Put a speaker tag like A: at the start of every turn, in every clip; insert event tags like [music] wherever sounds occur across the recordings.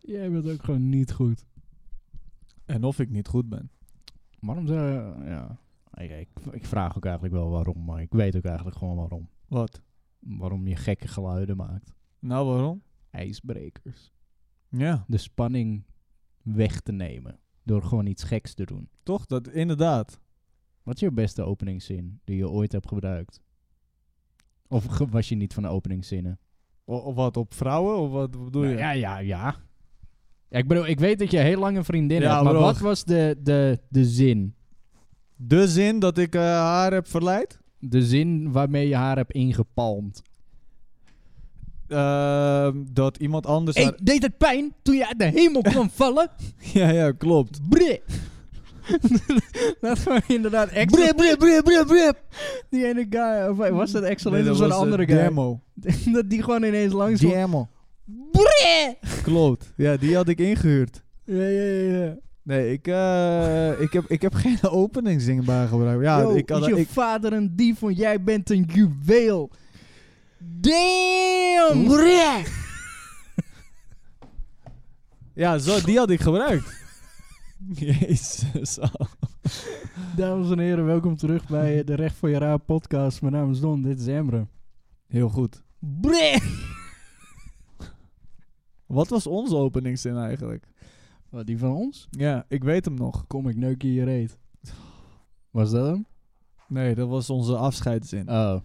A: Jij bent ook gewoon niet goed.
B: En of ik niet goed ben.
A: Waarom zou Ja. Ik, ik, ik vraag ook eigenlijk wel waarom, maar ik weet ook eigenlijk gewoon waarom.
B: Wat?
A: Waarom je gekke geluiden maakt.
B: Nou, waarom?
A: Ijsbrekers.
B: Ja,
A: De spanning weg te nemen. Door gewoon iets geks te doen.
B: toch? Dat inderdaad.
A: Wat is je beste openingszin die je ooit hebt gebruikt? Of ge- was je niet van de openingszinnen?
B: O- Of wat, op vrouwen? Of wat bedoel
A: Nou,
B: je?
A: ja, ja, ja. Ja, Ik bedoel, ik weet dat je heel lang een vriendin
B: Ja,
A: hebt, maar
B: bro.
A: wat was de, de, de zin?
B: De zin dat ik eh, haar heb verleid?
A: De zin waarmee je haar hebt ingepalmd.
B: Ehm, dat iemand anders... haar- [laughs]
A: Ik deed het pijn toen je uit de hemel [laughs] kwam vallen.
B: Ja, ja, klopt.
A: Bre. dat was inderdaad Axel. Bre, bre, bre, bre, bre. Die ene guy, of was dat Axel
B: Nee,
A: of
B: dat
A: zo'n
B: was, eh,
A: andere guy? Oh,
B: Demo.
A: [laughs] dat die gewoon ineens langs kwam.
B: Demo.
A: Bre.
B: Klopt. Ja, die had ik ingehuurd.
A: Ja, ja, ja.
B: Nee, ik, eh, ik, heb, ik heb geen [laughs] openingszin bijgebruikt. Ja,
A: Yo,
B: ik had...
A: is je
B: ik-
A: vader een dief, want jij bent een juweel. Damn! Bre.
B: ja, zo, die had ik gebruikt. Jezus.
A: Dames en heren, welkom terug bij eh, de Recht voor je Raar podcast. Mijn naam is Don, dit is Emre.
B: Heel goed.
A: Bre.
B: Wat was onze openingszin eigenlijk?
A: Wat, die van ons?
B: Ja, ik weet hem nog.
A: Kom, ik neuk je je reet. Was dat hem?
B: Nee, dat was onze afscheidszin.
A: Oh.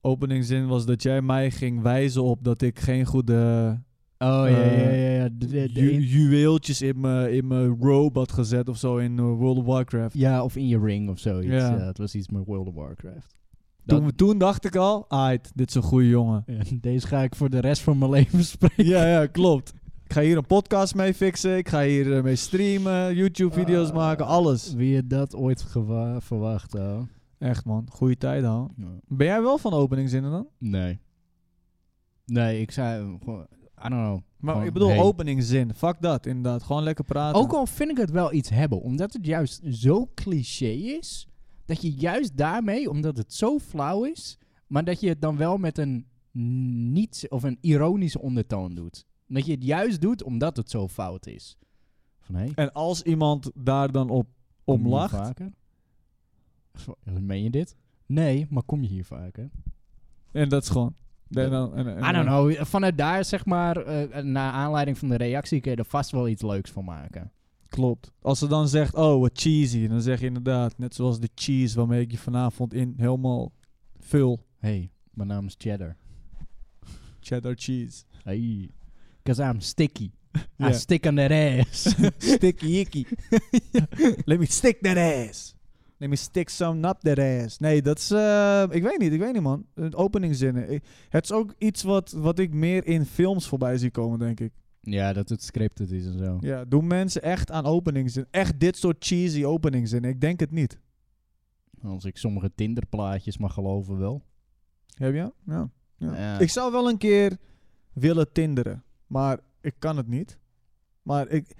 B: Openingszin was dat jij mij ging wijzen op dat ik geen goede
A: Oh, ja,
B: Eh,
A: ja, ja. ja. De, de- de
B: ju-
A: in-
B: juweeltjes in mijn in mijn robe had gezet of zo in eh, World of Warcraft.
A: ja, of in je ring of zoiets.
B: Ja.
A: Ja. het was iets met World of Warcraft. Dat-
B: Toen, toen dacht ik al, aight, dit is een goede
A: [laughs]
B: jongen.
A: En deze ga ik voor de rest van mijn [laughs] leven spreken.
B: ja, ja, klopt. Ik ga hier een podcast mee fixen. Ik ga hier eh, mee streamen, YouTube-video's
A: Ah.
B: maken, alles.
A: Wie had dat ooit gewa- verwacht, oh.
B: Echt man, goede tijden al. Ben jij wel van openingszinnen dan?
A: Nee. Nee, ik zei eh, gewoon... I don't know.
B: Maar
A: Gewoon,
B: ik bedoel,
A: hey.
B: openingszin. Fuck dat, inderdaad. Gewoon lekker praten.
A: Ook al vind ik het wel iets hebben, omdat het juist zo cliché is, dat je juist daarmee, omdat het zo flauw is, maar dat je het dan wel met een niets of een ironische ondertoon doet. Dat je het juist doet omdat het zo fout is. Van hé,
B: En als iemand daar dan op,
A: kom
B: om
A: je hier
B: lacht,
A: vaker? Zo, Meen je dit? Nee, maar kom je hier vaker?
B: En dat is gewoon.
A: Ja.
B: En dan, en, en-
A: I don't know. Vanuit daar, zeg maar, eh, naar aanleiding van de reactie, kun je er vast wel iets leuks van maken.
B: Klopt. Als ze dan zegt, oh, wat cheesy. Dan zeg je inderdaad, net zoals de cheese waarmee ik je vanavond in helemaal vul.
A: hey, mijn naam is Cheddar.
B: Cheddar cheese.
A: Hey. Cause I'm sticky.
B: Ja.
A: I stick on that ass.
B: [laughs] Sticky icky. [laughs] Let me stick that ass. Let me stick some up that ass. Nee, dat is... eh, ik weet niet, ik weet niet, man. Eh, Openingszinnen. Ik- het is ook iets wat, wat ik meer in films voorbij zie komen, denk ik.
A: ja, dat het scripted is en zo.
B: Ja, doen mensen echt aan openingszinnen. Echt dit soort cheesy openingszinnen. Ik denk het niet.
A: Als ik sommige Tinderplaatjes mag geloven wel.
B: Heb je? Ja. Ja.
A: Ja.
B: Ik zou wel een keer willen tinderen, maar ik kan het niet. Maar ik.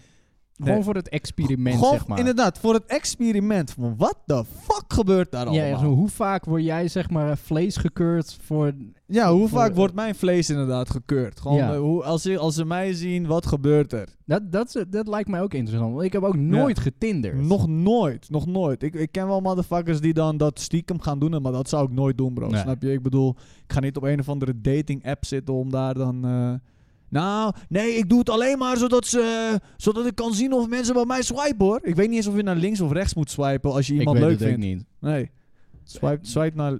A: Gewoon voor het experiment,
B: Gewoon
A: zeg maar.
B: Inderdaad, voor het experiment. Van wat de fuck gebeurt daar
A: ja,
B: allemaal?
A: zo, hoe vaak word jij, zeg maar, vlees gekeurd voor...
B: Ja, hoe
A: Voor-
B: vaak wordt mijn vlees inderdaad gekeurd? Gewoon,
A: Ja.
B: eh, hoe, als, ze, als ze mij zien, wat gebeurt er?
A: Dat, dat, is- dat lijkt mij ook interessant, want ik heb ook nooit getinderd.
B: Nog nooit, nog nooit. Ik, ik ken wel motherfuckers die dan dat stiekem gaan doen, maar dat zou ik nooit doen, bro.
A: Nee.
B: Snap je? Ik bedoel, ik ga niet op een of andere dating app zitten om daar dan. eh, nou, nee, ik doe het alleen maar zodat, ze, zodat ik kan zien of mensen bij mij swipen hoor. Ik weet niet eens of je naar links of rechts moet swipen als je
A: ik
B: iemand
A: weet
B: leuk
A: het ook
B: vindt.
A: niet.
B: Nee. Swipe, swipe naar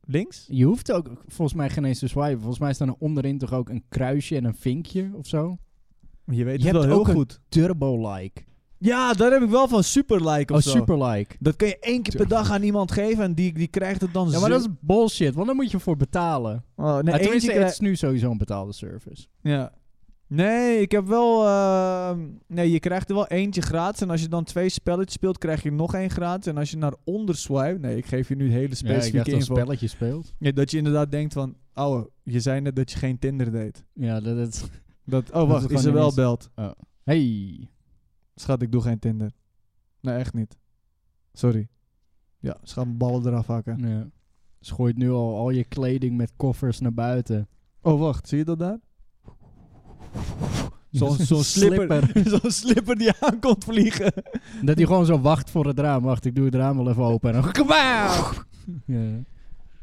B: links?
A: Je hoeft ook volgens mij geen eens te swipen. Volgens mij staan er onderin toch ook een kruisje en een vinkje of zo.
B: Je weet
A: Je
B: het wel
A: hebt
B: heel
A: ook een-
B: goed.
A: Turbo-like.
B: Ja, daar heb ik wel van super like
A: Oh,
B: of zo.
A: super-like.
B: Dat kun je één keer per dag aan iemand geven en die, die krijgt het dan
A: Ja,
B: zo-
A: maar dat is bullshit, want daar moet je voor betalen.
B: Oh, nee,
A: Maar
B: eentje
A: tenminste,
B: krijg-
A: het is nu sowieso een betaalde service.
B: Ja. Nee, ik heb wel. ehm, nee, je krijgt er wel eentje gratis. En als je dan twee spelletjes speelt, krijg je nog één gratis. En als je naar onder swipe. Nee, ik geef je nu hele specifieke info.
A: spelletje speelt.
B: Ja, dat je inderdaad denkt van. Ouwe, je zei net dat je geen Tinder deed.
A: Ja, dat het...
B: Dat, oh,
A: Dat
B: wacht,
A: het gewoon
B: Isabel
A: ineens-
B: belt.
A: Hey.
B: Schat, ik doe geen Tinder. Nee, echt niet. Sorry. Ja, ze gaan mijn ballen eraf hakken.
A: Ja. Schooit nu al al je kleding met koffers naar buiten.
B: Oh, wacht, zie je dat daar? Zo'n zo'n slipper, [laughs] zo'n slipper die aankomt vliegen.
A: Dat hij gewoon zo wacht voor het raam. Wacht, ik doe het raam wel even open. En dan kabaal!
B: [laughs]
A: Ja.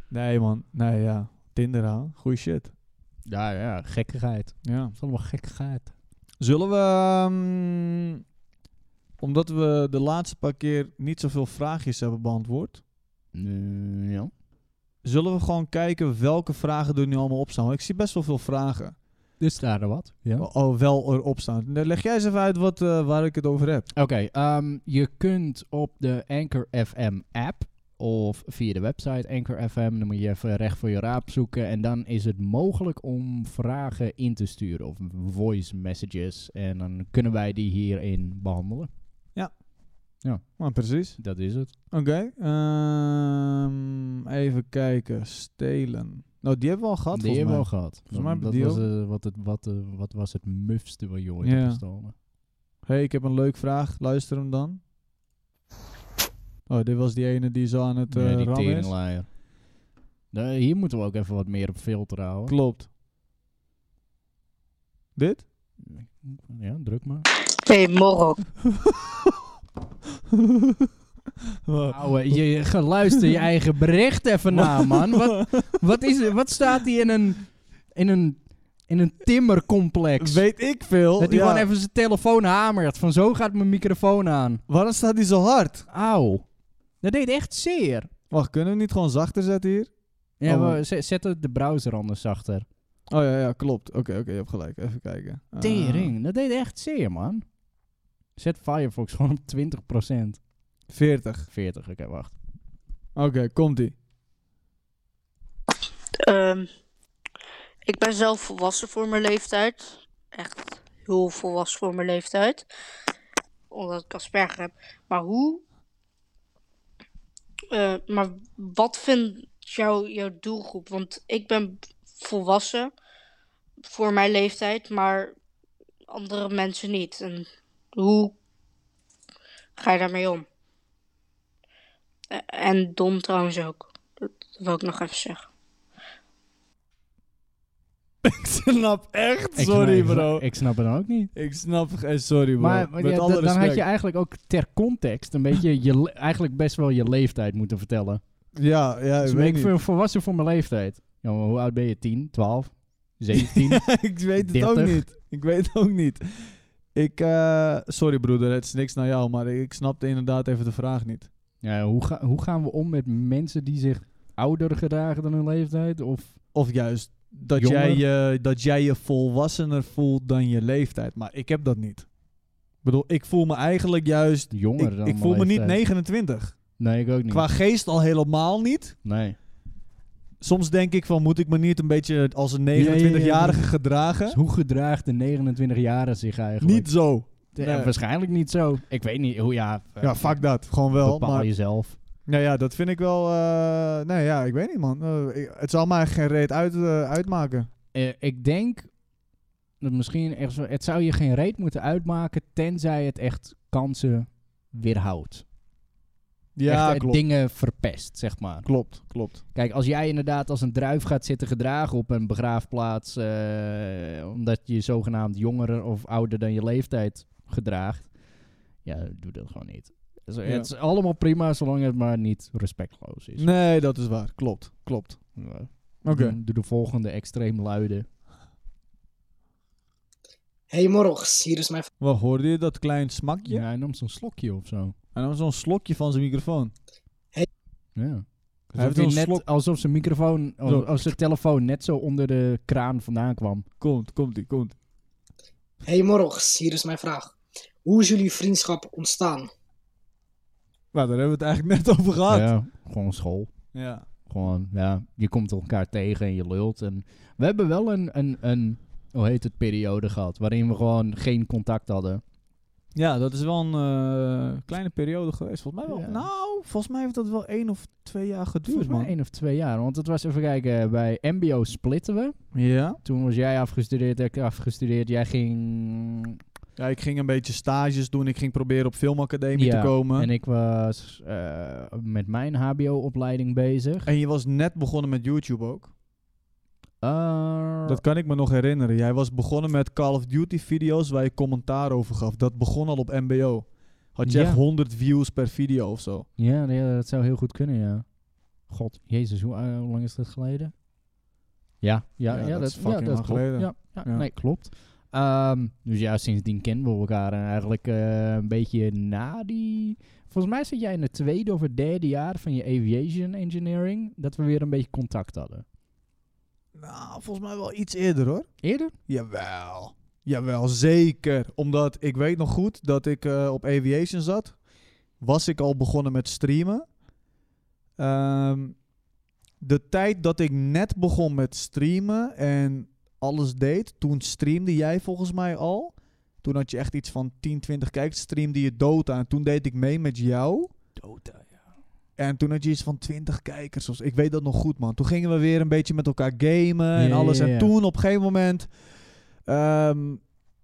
B: Nee man, nee ja. Tinder aan, goeie shit.
A: ja, ja, gekkigheid.
B: Ja.
A: Het is allemaal gekkigheid.
B: Zullen we, ehm, omdat we de laatste paar keer niet zoveel vraagjes hebben beantwoord,
A: Mm, ja.
B: zullen we gewoon kijken welke vragen er nu allemaal op staan? Want ik zie best wel veel vragen.
A: Dus daar wat. Ja.
B: Oh, oh, wel erop staan. Nou, Leg jij eens even uit wat, eh, waar ik het over heb.
A: Oké, ehm, je kunt op de Anchor FM app of via de website Anchor FM, dan moet je even recht voor je raap zoeken en dan is het mogelijk om vragen in te sturen of voice messages en dan kunnen wij die hierin behandelen. Nou,
B: Maar precies.
A: Dat is het.
B: Oké. ehm, even kijken. Stelen. Nou, die hebben we al gehad
A: die
B: volgens
A: hebben we
B: mij.
A: al gehad.
B: Volgens mij
A: dat
B: hebben
A: was,
B: we
A: eh, wat, het, wat, eh, wat was het mufste wat je ooit
B: Ja.
A: hebt gestolen?
B: hey, ik heb een leuk vraag. Luister hem dan. Oh, dit was die ene die zo aan het eh
A: Nee, die
B: rammen is.
A: teringlaaier. Nee, hier moeten we ook even wat meer op filteren houden.
B: Klopt. Dit?
A: Ja, druk maar.
C: Hey, morok.
B: [laughs] Wat?
A: Ouwe, Nou, eh, je- je gaat luisteren je eigen bericht even na, man. Wat, wat, is, er- wat staat hij in een, in een, in een timmercomplex?
B: Weet ik veel.
A: dat hij
B: ja.
A: gewoon even zijn telefoon hamert. Van zo gaat mijn microfoon aan.
B: Waarom staat die zo hard?
A: Auw. Dat deed echt zeer.
B: Wacht, kunnen we hem niet gewoon zachter zetten hier?
A: Ja,
B: Oh.
A: we- zet- zet het de browser anders zachter.
B: Oh ja, ja klopt. Oké, oké, je hebt gelijk. Even kijken. Eh,
A: Tering, dat deed echt zeer, man. Zet Firefox gewoon op 20%.
B: 40.
A: 40, oké, wacht.
B: Oké, komt-ie.
C: Ehm, ik ben zelf volwassen voor mijn leeftijd. Echt heel volwassen voor mijn leeftijd. Omdat ik Asperger heb. Maar hoe... eh, maar wat vindt jou, jouw doelgroep? Want ik ben volwassen voor mijn leeftijd, maar andere mensen niet. En hoe ga je daarmee om? Eh, En dom trouwens ook. Dat wil ik nog even zeggen.
B: [laughs] Ik snap echt,
A: Ik-
B: sorry
A: ik-
B: bro.
A: Ik snap het dan ook niet.
B: Ik snap echt, sorry bro.
A: Maar, maar
B: Met
A: ja,
B: alle
A: dan dan had je
B: respect.
A: eigenlijk ook ter context een beetje je, le- eigenlijk best wel je leeftijd moeten vertellen.
B: Ja, ja,
A: Dus
B: ik
A: ik
B: weet
A: ben
B: niet.
A: veel volwassen voor mijn leeftijd. Ja, maar hoe oud ben je? 10, 12, 17?
B: Ja, [laughs] ik weet het ook
A: 30.
B: niet. Ik weet het ook niet. Ik, eh, sorry broeder, het is niks naar jou, maar ik snapte inderdaad even de vraag niet.
A: ja, hoe, ga, hoe gaan we om met mensen die zich ouder gedragen dan hun leeftijd? Of
B: Of juist, dat
A: Jonger?
B: jij, je, dat jij je volwassener voelt dan je leeftijd. Maar ik heb dat niet. Ik bedoel, ik voel me eigenlijk juist...
A: jonger
B: Ik,
A: dan
B: ik
A: mijn
B: voel me niet
A: leeftijd?
B: 29.
A: Nee, ik ook niet.
B: Qua geest al helemaal niet.
A: Nee.
B: Soms denk ik van, moet ik me niet een beetje als een
A: ja, ja, ja.
B: 29-jarige
A: Dus
B: gedragen?
A: hoe gedraagt de 29 jarige zich eigenlijk?
B: Niet zo.
A: Eh,
B: nee.
A: Waarschijnlijk niet zo. Ik weet niet hoe ja. eh,
B: Ja, fuck dat. Gewoon wel.
A: Bepaal
B: Maar,
A: jezelf.
B: nou ja, dat vind ik wel... eh nou ja, ik weet niet, man. Eh, ik- het zal mij geen reet uit, eh, uitmaken.
A: Eh, ik denk dat misschien echt zo, het zou je geen reet moeten uitmaken tenzij het echt kansen weerhoudt. echt,
B: Ja,
A: eh,
B: klopt.
A: dingen verpest, zeg maar.
B: Klopt, klopt.
A: Kijk, als jij inderdaad als een druif gaat zitten gedragen op een begraafplaats, eh, omdat je je zogenaamd jonger of ouder dan je leeftijd gedraagt, ja, doe dat gewoon niet. Dus, eh,
B: Ja.
A: Het is allemaal prima, zolang het maar niet respectloos is.
B: Nee, dat is waar. Klopt, klopt.
A: Ja.
B: Oké.
A: Doe- Doe de volgende extreem luide.
D: Hey Morgs, hier is mijn v-
B: Wat hoorde je dat klein smakje?
A: Ja, hij nam zo'n slokje of zo.
B: En dan zo'n slokje van zijn microfoon.
A: Ja.
B: Hij
A: Alsof,
B: heeft
A: hij
B: een
A: net,
B: slok-
A: alsof zijn microfoon,
B: Zo.
A: als, als zijn telefoon net zo onder de kraan vandaan kwam.
B: Komt, komt die, komt.
D: Hey Morgs, hier is mijn vraag. Hoe is jullie vriendschap ontstaan?
B: Nou, daar hebben we het eigenlijk net over gehad.
A: Ja, gewoon school.
B: ja.
A: Gewoon, ja, je komt elkaar tegen en je lult. En we hebben wel een, een, een, hoe heet het, periode gehad. Waarin we gewoon geen contact hadden.
B: Ja, dat is wel een eh, kleine periode geweest. Volgens mij wel.
A: Ja.
B: Nou, volgens mij heeft dat wel één of twee jaar geduurd,
A: Volgens mij
B: man.
A: één of twee jaar. Want het was, even kijken, bij MBO splitten we.
B: Ja.
A: Toen was jij afgestudeerd, ik afgestudeerd. Jij ging...
B: ja, ik ging een beetje stages doen. Ik ging proberen op filmacademie
A: Ja,
B: te komen. En,
A: En ik was eh, met mijn HBO-opleiding bezig.
B: je was net begonnen met YouTube ook.
A: Eh,
B: Dat kan ik me nog herinneren. Jij was begonnen met Call of Duty video's waar je commentaar over gaf. Dat begon al op MBO. Had je
A: Ja.
B: echt 100 views per video of zo.
A: ja, nee, dat zou heel goed kunnen, ja. God, jezus, hoe, eh, hoe lang is dat geleden? Ja, ja, ja, dat,
B: is
A: ja,
B: fucking
A: dat
B: lang
A: klopt.
B: geleden.
A: Ja, ja,
B: Ja.
A: nee, klopt. Ehm, dus ja, sindsdien kennen we elkaar. En eigenlijk eh, een beetje na die... Volgens mij zat jij in het tweede of het derde jaar van je aviation engineering... dat we weer een beetje contact hadden.
B: Nou, volgens mij wel iets eerder hoor.
A: Eerder?
B: Jawel. Jawel, zeker. Omdat ik weet nog goed dat ik eh, op Aviation zat. Was ik al begonnen met streamen. Ehm, de tijd dat ik net begon met streamen en alles deed, toen streamde jij volgens mij al. Toen had je echt iets van 10, 20 kijkers, streamde je Dota. En toen deed ik mee met jou.
A: Dota, ja.
B: En toen had je iets van 20 kijkers. Of, zo. ik weet dat nog goed, man. Toen gingen we weer een beetje met elkaar gamen en
A: Ja,
B: alles.
A: ja, ja.
B: En toen op een gegeven moment. ehm,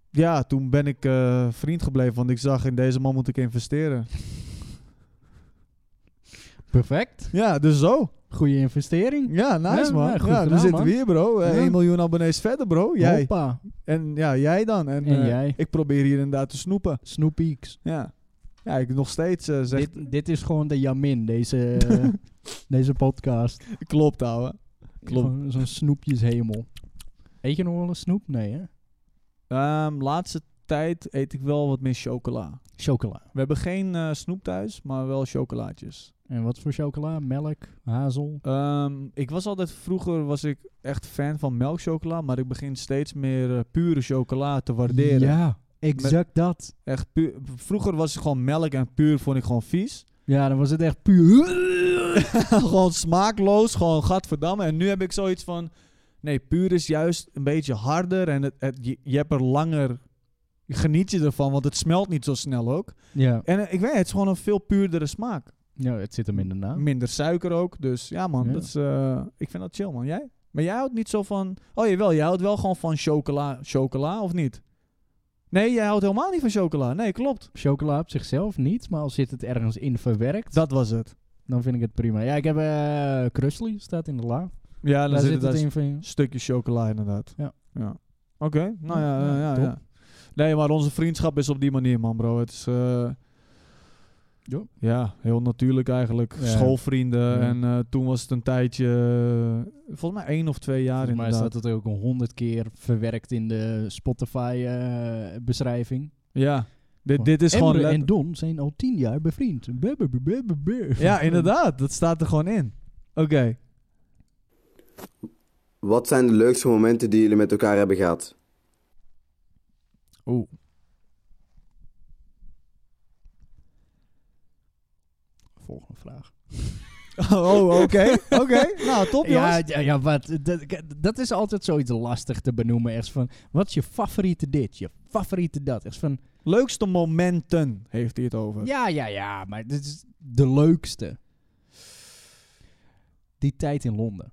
B: ja, toen ben ik eh, vriend gebleven. Want ik zag in deze man moet ik investeren.
A: Perfect.
B: ja, dus zo.
A: Goede investering.
B: Ja, nice
A: Ja,
B: man.
A: ja,
B: Ja,
A: goed
B: dan
A: gedaan,
B: zitten we
A: man.
B: hier, bro. Eh,
A: Ja.
B: 1 miljoen abonnees verder, bro. Jij.
A: Hoppa.
B: En ja, jij dan. En,
A: En
B: eh,
A: jij.
B: Ik probeer hier inderdaad te snoepen.
A: Snoopy X.
B: Ja. Ja, ik nog steeds eh, zeg.
A: Dit, dit is gewoon de Jamin, deze, deze podcast.
B: [laughs] Klopt, ouwe. Klopt.
A: Gewoon Zo'n snoepjeshemel. Eet je nog wel een snoep? Nee, hè?
B: Ehm, laatste tijd eet ik wel wat meer chocola.
A: Chocola.
B: We hebben geen eh, snoep thuis, maar wel chocolaatjes.
A: En wat voor chocola? Melk, hazel.
B: Ehm, ik was altijd vroeger was ik echt fan van melkchocola, maar ik begin steeds meer eh, pure chocola te waarderen.
A: Ja, exact dat.
B: Echt puur. Vroeger was het gewoon melk en puur vond ik gewoon vies.
A: Ja, dan was het echt puur.
B: [laughs] gewoon smaakloos, gewoon gadverdamme. En nu heb ik zoiets van, nee, puur is juist een beetje harder en het, het- je, je hebt er langer, geniet je ervan, want het smelt niet zo snel ook.
A: Ja.
B: En eh, ik weet, het is gewoon een veel puurdere smaak.
A: ja, het zit hem in de naam.
B: Minder suiker ook. Dus ja, man.
A: Ja.
B: Dat is, eh, ik vind dat chill, man. Jij? Maar jij houdt niet zo van... Oh, jawel. Jij houdt wel gewoon van chocola. Chocola, of niet? Nee, jij houdt helemaal niet van chocola. Nee, klopt.
A: Chocola op zichzelf niet, maar als zit het ergens in verwerkt,
B: Dat was het.
A: dan vind ik het prima. Ja, ik heb eh Krusli, staat in de la.
B: Ja, dan
A: Daar
B: zit,
A: zit
B: het
A: het in van...
B: stukje chocola inderdaad.
A: Ja.
B: ja. Oké. Nou ja,
A: Ja,
B: ja, ja,
A: top.
B: ja. Nee, maar onze vriendschap is op die manier, man, bro. Het is... eh,
A: Ja.
B: ja, heel natuurlijk eigenlijk.
A: Ja.
B: Schoolvrienden.
A: Ja.
B: En eh, toen was het een tijdje... eh, volgens mij één of twee jaar
A: Volgens mij
B: inderdaad.
A: staat het ook een honderd keer verwerkt in de eh, Spotify-beschrijving.
B: Ja, dit,
A: Oh.
B: dit is gewoon... let-
A: en Don zijn al tien jaar bevriend. Buh, buh, buh, buh, buh, buh.
B: Ja, inderdaad. Dat staat er gewoon in. Oké.
A: [laughs]
E: Wat zijn de leukste momenten die jullie met elkaar hebben gehad?
B: Oeh.
A: Volgende vraag.
B: Oh, oké.
A: [laughs]
B: Oké. Nou, top,
A: Ja,
B: jongens.
A: ja, ja wat, dat, dat is altijd zoiets lastig te benoemen. Echt van, wat is je favoriete dit, je favoriete dat? Echt van,
B: Leukste momenten heeft hij het over.
A: ja, ja, ja, maar dit is de leukste. Die tijd in Londen.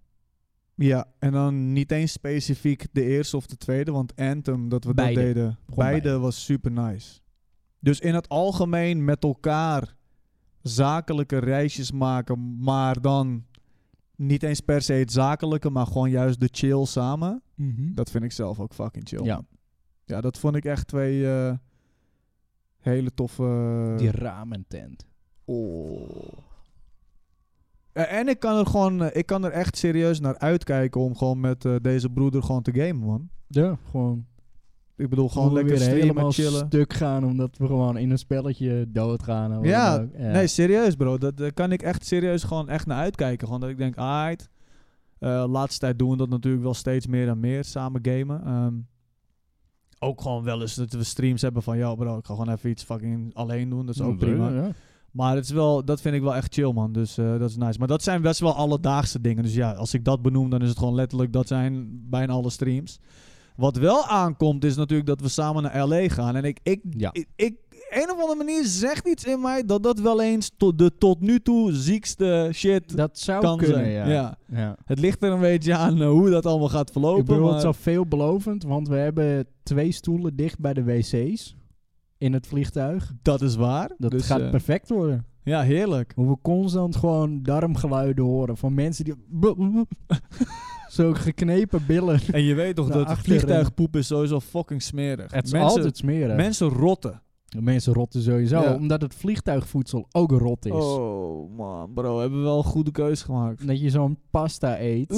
B: Ja, en dan niet eens specifiek de eerste of de tweede, want Anthem, dat we
A: Beide.
B: dat deden,
A: Gewoon
B: beide, was super nice. Dus in het algemeen met elkaar zakelijke reisjes maken, maar dan niet eens per se het zakelijke, maar gewoon juist de chill samen. Dat vind ik zelf ook fucking chill.
A: ja,
B: Mhm. Ja, dat vond ik echt twee eh, hele toffe.
A: die ramen tent.
B: Oh. Eh, En ik kan er gewoon, eh, ik kan er echt serieus naar uitkijken om gewoon met eh, deze broeder gewoon te gamen, man.
A: Ja, gewoon
B: Ik bedoel, gewoon
A: Hoe we
B: lekker
A: weer
B: streamen,
A: helemaal
B: chillen.
A: stuk gaan omdat we gewoon in een spelletje doodgaan. en wat
B: Ja,
A: dan ook. ja,
B: Nee, serieus bro. Dat- Daar kan ik echt serieus gewoon echt naar uitkijken. Gewoon dat ik denk, alright. Eh, laatste tijd doen we dat natuurlijk wel steeds meer en meer, samen gamen. Ehm, ook gewoon wel eens dat we streams hebben van, ja bro, ik ga gewoon even iets fucking alleen doen. Dat is
A: Mm,
B: ook prima.
A: Ja.
B: Maar het is wel, dat vind ik wel echt chill, man. Dus eh, dat is nice. Maar dat zijn best wel alledaagse dingen. Dus ja, als ik dat benoem, dan is het gewoon letterlijk... dat zijn bijna alle streams. Wat wel aankomt, is natuurlijk dat we samen naar L.A. gaan. En ik... ik,
A: Ja.
B: ik, ik- een of andere manier zegt iets in mij... dat dat wel eens tot de tot nu toe ziekste shit
A: Dat zou
B: kan
A: kunnen,
B: zijn.
A: ja. Ja.
B: Het ligt er een beetje aan eh, hoe dat allemaal gaat verlopen.
A: Ik bedoel,
B: maar-
A: het is al veelbelovend, want we hebben twee stoelen dicht bij de wc's in het vliegtuig.
B: Dat is waar.
A: Dat
B: Dus,
A: gaat
B: eh,
A: perfect worden.
B: ja,
A: [laughs]
B: heerlijk.
A: Hoe we constant gewoon darmgeluiden horen van mensen die... [laughs] Zo geknepen billen.
B: En je weet toch
A: Naar
B: dat het
A: achteren.
B: vliegtuigpoep is sowieso fucking smerig.
A: eh, Het is
B: mensen,
A: altijd smerig.
B: mensen rotten.
A: Mensen rotten sowieso,
B: Ja.
A: omdat het vliegtuigvoedsel ook rot is.
B: Oh man, bro, hebben we wel een goede keuze gemaakt.
A: Dat je zo'n pasta eet.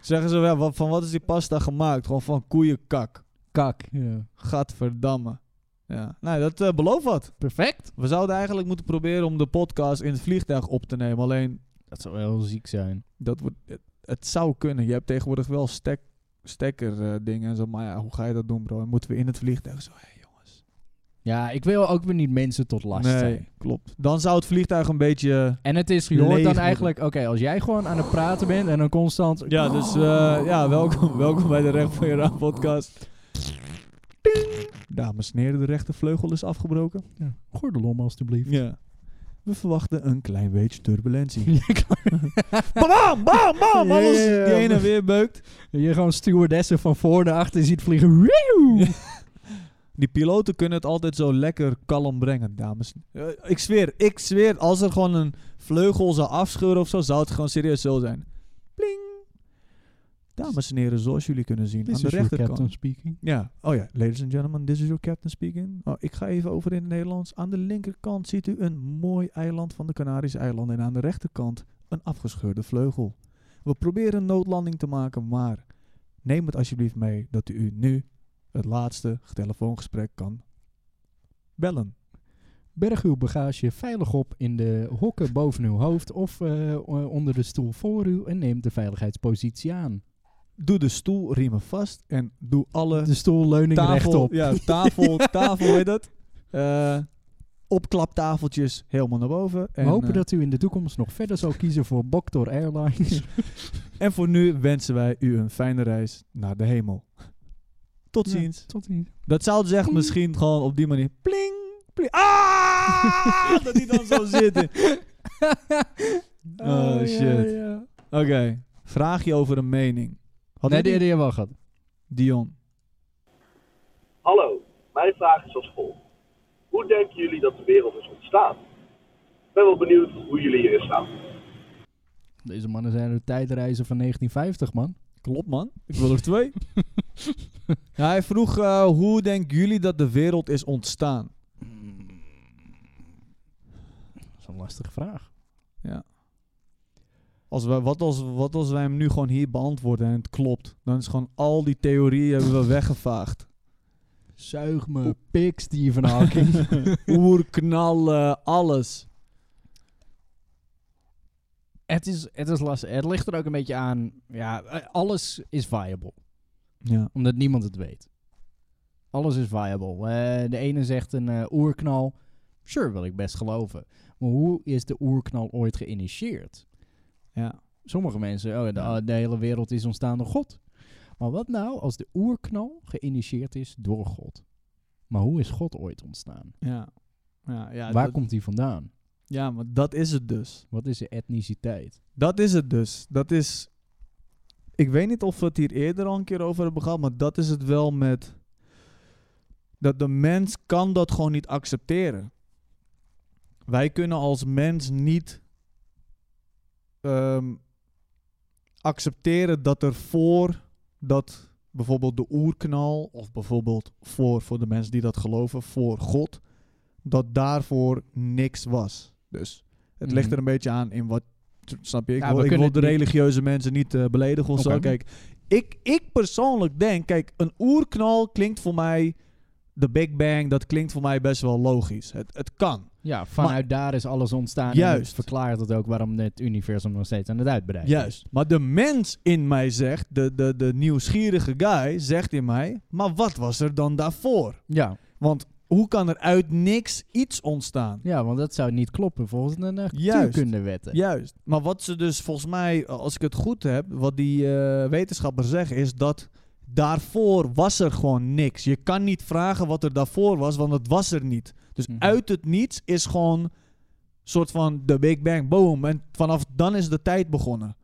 B: Zeggen ze wel, wat, van wat is die pasta gemaakt? Gewoon van koeienkak.
A: Kak. Ja.
B: Gadverdamme. Ja, nou dat eh, belooft wat.
A: Perfect.
B: We zouden eigenlijk moeten proberen om de podcast in het vliegtuig op te nemen. Alleen,
A: Dat zou wel ziek zijn.
B: dat wordt, het, het zou kunnen. Je hebt tegenwoordig wel stek, stekker eh, dingen en zo. Maar ja, hoe ga je dat doen, bro? En moeten we in het vliegtuig zo? Hey, jongens.
A: Ja, ik wil ook weer niet mensen tot last zijn.
B: Nee, klopt. Dan zou het vliegtuig een beetje...
A: En het is, je hoort
B: Leeg
A: dan
B: worden.
A: eigenlijk, oké, als jij gewoon aan het praten bent en dan constant...
B: Ja, dus eh, ja, welkom, [laughs] welkom bij de Recht van je Raam podcast. Dames en heren, de rechtervleugel is afgebroken.
A: Ja, gordel om alstublieft.
B: Ja. We verwachten een klein beetje
A: [laughs]
B: turbulentie. [laughs] bam, bam, bam, alles
A: Ja, ja, ja.
B: die ene weer beukt.
A: Je gewoon stewardessen van voor naar achter ziet vliegen. Wauw.
B: Die piloten kunnen het altijd zo lekker kalm brengen, dames. Eh, ik zweer, ik zweer, als er gewoon een vleugel zou afscheuren of zo, zou het gewoon serieus zo zijn. Pling. Dames en heren, zoals jullie kunnen zien,
A: This
B: aan de
A: is your
B: rechterkant.
A: captain speaking.
B: Ja, oh ja, ladies and gentlemen, this is your captain speaking. Oh, ik ga even over in het Nederlands. Aan de linkerkant ziet u een mooi eiland van de Canarische eilanden en aan de rechterkant een afgescheurde vleugel. We proberen een noodlanding te maken, maar neem het alsjeblieft mee dat u nu het laatste telefoongesprek kan bellen.
A: Berg uw bagage veilig op in de hokken boven uw hoofd of eh, o- onder de stoel voor u en neem de veiligheidspositie aan.
B: Doe de stoelriemen vast en doe alle
A: De stoelleuning rechtop.
B: Ja, tafel,
A: [laughs]
B: tafel, weet dat? Eh, opklaptafeltjes helemaal naar boven.
A: We
B: en,
A: hopen
B: eh,
A: dat u in de toekomst nog verder zal kiezen voor Boktor Airlines.
B: En voor nu wensen wij u een fijne reis naar de hemel. Tot
A: Ja,
B: ziens.
A: [laughs] Tot ziens.
B: Dat zou dus echt
A: Pling.
B: misschien gewoon op die manier. Pling, pling. Ah! [laughs] dat die dan zo zitten. Oh shit. Oké. Vraag je over een mening. Had
A: Nee,
B: ik
A: die
B: niet?
A: idee wel gehad.
B: Dion.
F: Hallo, mijn vraag is als volgt. Hoe denken jullie dat de wereld is ontstaan? Ik ben wel benieuwd hoe jullie hierin staan.
A: Deze mannen zijn de tijdreizen van 1950, man.
B: Klopt man. Ik wil er
A: [laughs]
B: twee. Ja, hij vroeg eh, hoe denken jullie dat de wereld is ontstaan?
A: Dat is een lastige vraag.
B: Als wij, wat, als, wat als wij hem nu gewoon hier beantwoorden en het klopt? Dan is gewoon al die theorieën hebben we
A: [laughs]
B: weggevaagd.
A: Zuig me, pik Stephen
B: [laughs]
A: Hawking.
B: Oerknallen, alles.
A: het, is, het is lastig. Het ligt er ook een beetje aan. Ja, eh, alles is viable.
B: Ja.
A: Omdat niemand het weet. Alles is viable. Eh, de ene zegt een eh, oerknal. Sure, wil ik best geloven. Maar hoe is de oerknal ooit geïnitieerd?
B: ja.
A: Sommige mensen, oh, de,
B: Ja.
A: de hele wereld is ontstaan door God. Maar wat nou als de oerknal geïnitieerd is door God? Maar hoe is God ooit ontstaan?
B: Ja. Ja, ja,
A: Waar
B: dat-
A: komt die vandaan?
B: ja, maar dat is het dus.
A: Wat is de etniciteit?
B: Dat is het dus. Dat is... Ik weet niet of we het hier eerder al een keer over hebben gehad, maar dat is het wel met... Dat de mens kan dat gewoon niet accepteren. Wij kunnen als mens niet ehm, accepteren dat er voor dat bijvoorbeeld de oerknal, of bijvoorbeeld voor, voor de mensen die dat geloven, voor God, dat daarvoor niks was. Dus het ligt
A: Mhm.
B: er een beetje aan in wat T- Snap je? Ik,
A: Ja,
B: wil,
A: we
B: ik
A: kunnen
B: wil de
A: het niet-
B: religieuze mensen niet eh, beledigen of zo.
A: Oké.
B: Kijk, ik, ik persoonlijk denk... Kijk, een oerknal klinkt voor mij... De Big Bang, dat klinkt voor mij best wel logisch. Het, het kan.
A: Ja, vanuit daar is alles ontstaan. En
B: Juist.
A: dat verklaart het ook waarom het universum nog steeds aan het uitbreiden
B: Juist. Maar de mens in mij zegt... De, de, de nieuwsgierige guy zegt in mij... Maar wat was er dan daarvoor?
A: is. Ja.
B: Want hoe kan er uit niks iets ontstaan?
A: ja, want dat zou niet kloppen volgens de
B: Juist.
A: natuurkundewetten.
B: Juist. Maar wat ze dus volgens mij, als ik het goed heb, wat die eh, wetenschappers zeggen, is dat daarvoor was er gewoon niks. Je kan niet vragen wat er daarvoor was, want het was er niet. Dus
A: Mhm.
B: uit het niets is gewoon soort van de Big Bang, boom. En vanaf dan is de tijd begonnen.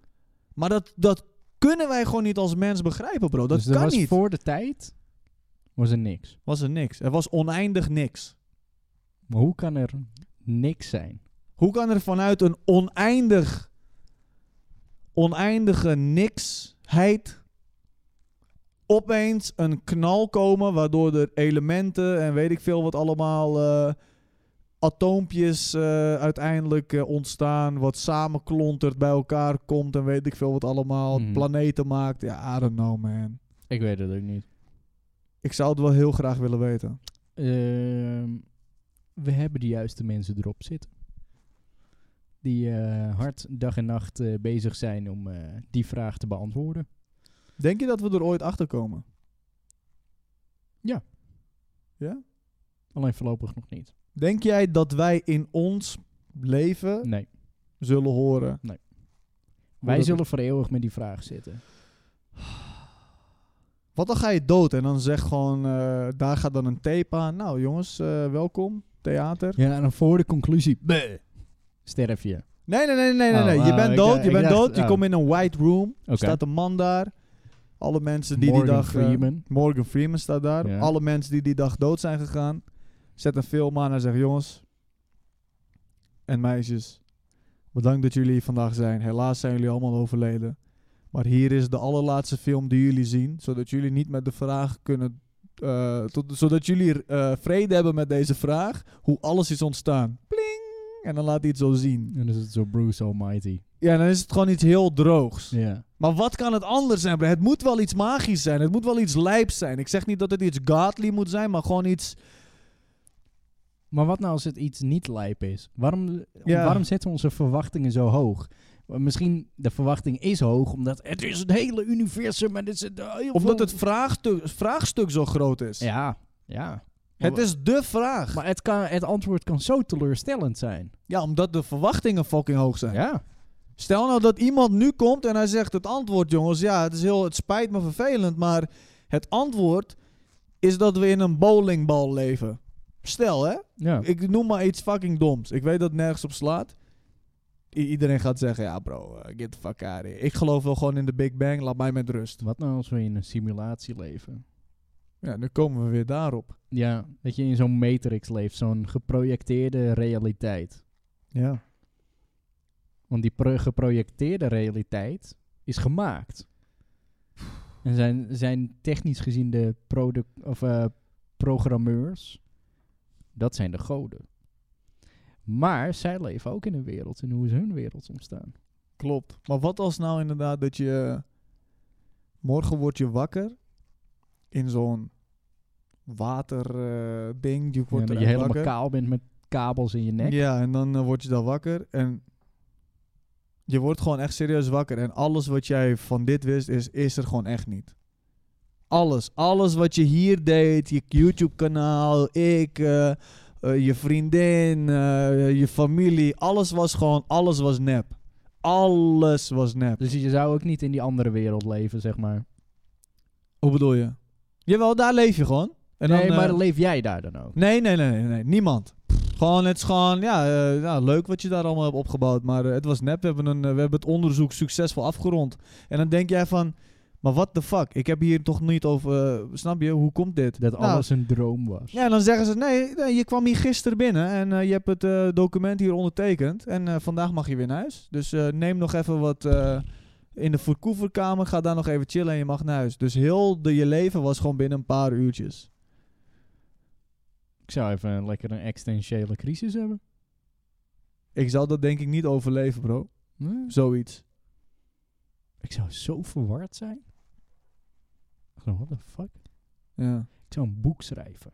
B: Maar dat, dat kunnen wij gewoon niet als mens begrijpen, bro. Dat
A: dus er
B: kan
A: was
B: niet.
A: voor de tijd was er niks.
B: Was er niks. Er was oneindig niks.
A: Maar hoe kan er niks zijn?
B: Hoe kan er vanuit een oneindig oneindige niksheid opeens een knal komen, waardoor er elementen en weet ik veel wat allemaal eh, atoompjes eh, uiteindelijk eh, ontstaan, wat samenklontert bij elkaar komt en weet ik veel wat allemaal,
A: Mhm.
B: planeten maakt. Ja, I don't know man.
A: Ik weet het ook niet.
B: Ik zou het wel heel graag willen weten.
A: Ehm, we hebben de juiste mensen erop zitten. Die eh, hard dag en nacht eh, bezig zijn om eh, die vraag te beantwoorden.
B: Denk je dat we er ooit achter komen?
A: Alleen voorlopig nog niet.
B: Denk jij dat wij in ons leven
A: Nee.
B: zullen horen?
A: Wij
B: dat-
A: zullen voor eeuwig met die vraag zitten.
B: [sighs] Wat dan ga je dood en dan zeg gewoon, eh, daar gaat dan een tape aan. Nou jongens, eh, welkom, theater.
A: Ja, en dan voor de conclusie. bleh, Sterf je.
B: Nee, nee, nee, nee, nee.
A: Oh,
B: nee. je
A: wauw,
B: bent
A: ik
B: dood,
A: dacht-
B: je
A: ik
B: bent
A: dacht-
B: dood. Je
A: oh.
B: komt in een white room.
A: Oké.
B: Staat een man daar. Alle mensen die
A: Morgan
B: die dag... eh,
A: Freeman.
B: Morgan Freeman staat daar.
A: Ja.
B: Alle mensen die die dag dood zijn gegaan. Zet een film aan en zegt... Jongens en meisjes, bedankt dat jullie hier vandaag zijn. Helaas zijn jullie allemaal overleden. Maar hier is de allerlaatste film die jullie zien. Zodat jullie niet met de vraag kunnen... eh, tot, zodat jullie eh, vrede hebben met deze vraag. Hoe alles is ontstaan. Pling! En dan laat hij het zo zien.
A: En dan is het zo Bruce Almighty.
B: Ja, dan is het gewoon iets heel droogs.
A: Ja.
B: Maar wat kan het anders zijn? bro? Het moet wel iets magisch zijn. Het moet wel iets lijps zijn. Ik zeg niet dat het iets godly moet zijn, maar gewoon iets...
A: Maar wat nou als het iets niet lijp is? Waarom,
B: Ja.
A: waarom zetten we onze verwachtingen zo hoog? Maar Misschien de verwachting is hoog, omdat het is het hele universum en het is het eh, heel
B: Omdat
A: veel-
B: het vraagstuk, vraagstuk zo groot is.
A: Ja, ja.
B: Het is de vraag.
A: Maar het, kan, het antwoord kan zo teleurstellend zijn.
B: Ja, omdat de verwachtingen fucking hoog zijn.
A: Ja.
B: Stel nou dat iemand nu komt en hij zegt het antwoord, jongens. Ja, het, is heel, het spijt me vervelend, maar het antwoord is dat we in een bowlingbal leven. Stel, hè?
A: Ja.
B: Ik noem maar iets fucking doms. Ik weet dat het nergens op slaat. I- iedereen gaat zeggen, ja bro, eh, get the fuck out of here. Ik geloof wel gewoon in de Big Bang, laat mij met rust.
A: Wat nou als we in een simulatie leven?
B: Ja, nu komen we weer daarop.
A: Ja, dat je in zo'n matrix leeft, zo'n geprojecteerde realiteit.
B: Ja.
A: Want die pro- geprojecteerde realiteit is gemaakt. En zijn, zijn technisch gezien de product, of, eh, programmeurs, dat zijn de goden. Maar zij leven ook in een wereld. En hoe is hun wereld ontstaan?
B: Klopt. Maar wat als nou inderdaad dat je... Morgen word je wakker in zo'n waterding. ding. je
A: Ja,
B: wordt
A: dat je
B: eruit
A: helemaal
B: wakker.
A: kaal bent met kabels in je nek.
B: Ja, en dan eh, word je daar wakker en je wordt gewoon echt serieus wakker. En alles wat jij van dit wist, is, is er gewoon echt niet. Alles, alles wat je hier deed, je YouTube-kanaal, ik, eh, eh, je vriendin, eh, je familie, alles was gewoon, alles was nep. Alles was nep.
A: Dus je zou ook niet in die andere wereld leven, zeg maar.
B: Hoe bedoel je? Jawel, daar leef je gewoon. En
A: nee,
B: dan, eh,
A: maar leef jij daar dan ook?
B: Nee, nee, nee, nee, nee. Niemand. Gewoon, het is gewoon, ja, eh, ja, leuk wat je daar allemaal hebt opgebouwd. Maar eh, het was nep. We hebben, een, eh, we hebben het onderzoek succesvol afgerond. En dan denk jij van, maar what the fuck? Ik heb hier toch niet over, eh, snap je? Hoe komt dit?
A: Dat
B: Nou,
A: alles een droom was.
B: Ja, en dan zeggen ze, nee, nee, je kwam hier gisteren binnen en eh, je hebt het eh, document hier ondertekend. En eh, vandaag mag je weer naar huis. Dus eh, neem nog even wat eh, in de verkoeverkamer, ga daar nog even chillen en je mag naar huis. Dus heel de, je leven was gewoon binnen een paar uurtjes.
A: Ik zou even een- lekker een existentiële crisis hebben.
B: Ik zou dat denk ik niet overleven, bro.
A: Hm?
B: Zoiets.
A: Ik zou zo verward zijn. Gewoon, what the fuck?
B: Ja.
A: Ik zou een boek schrijven.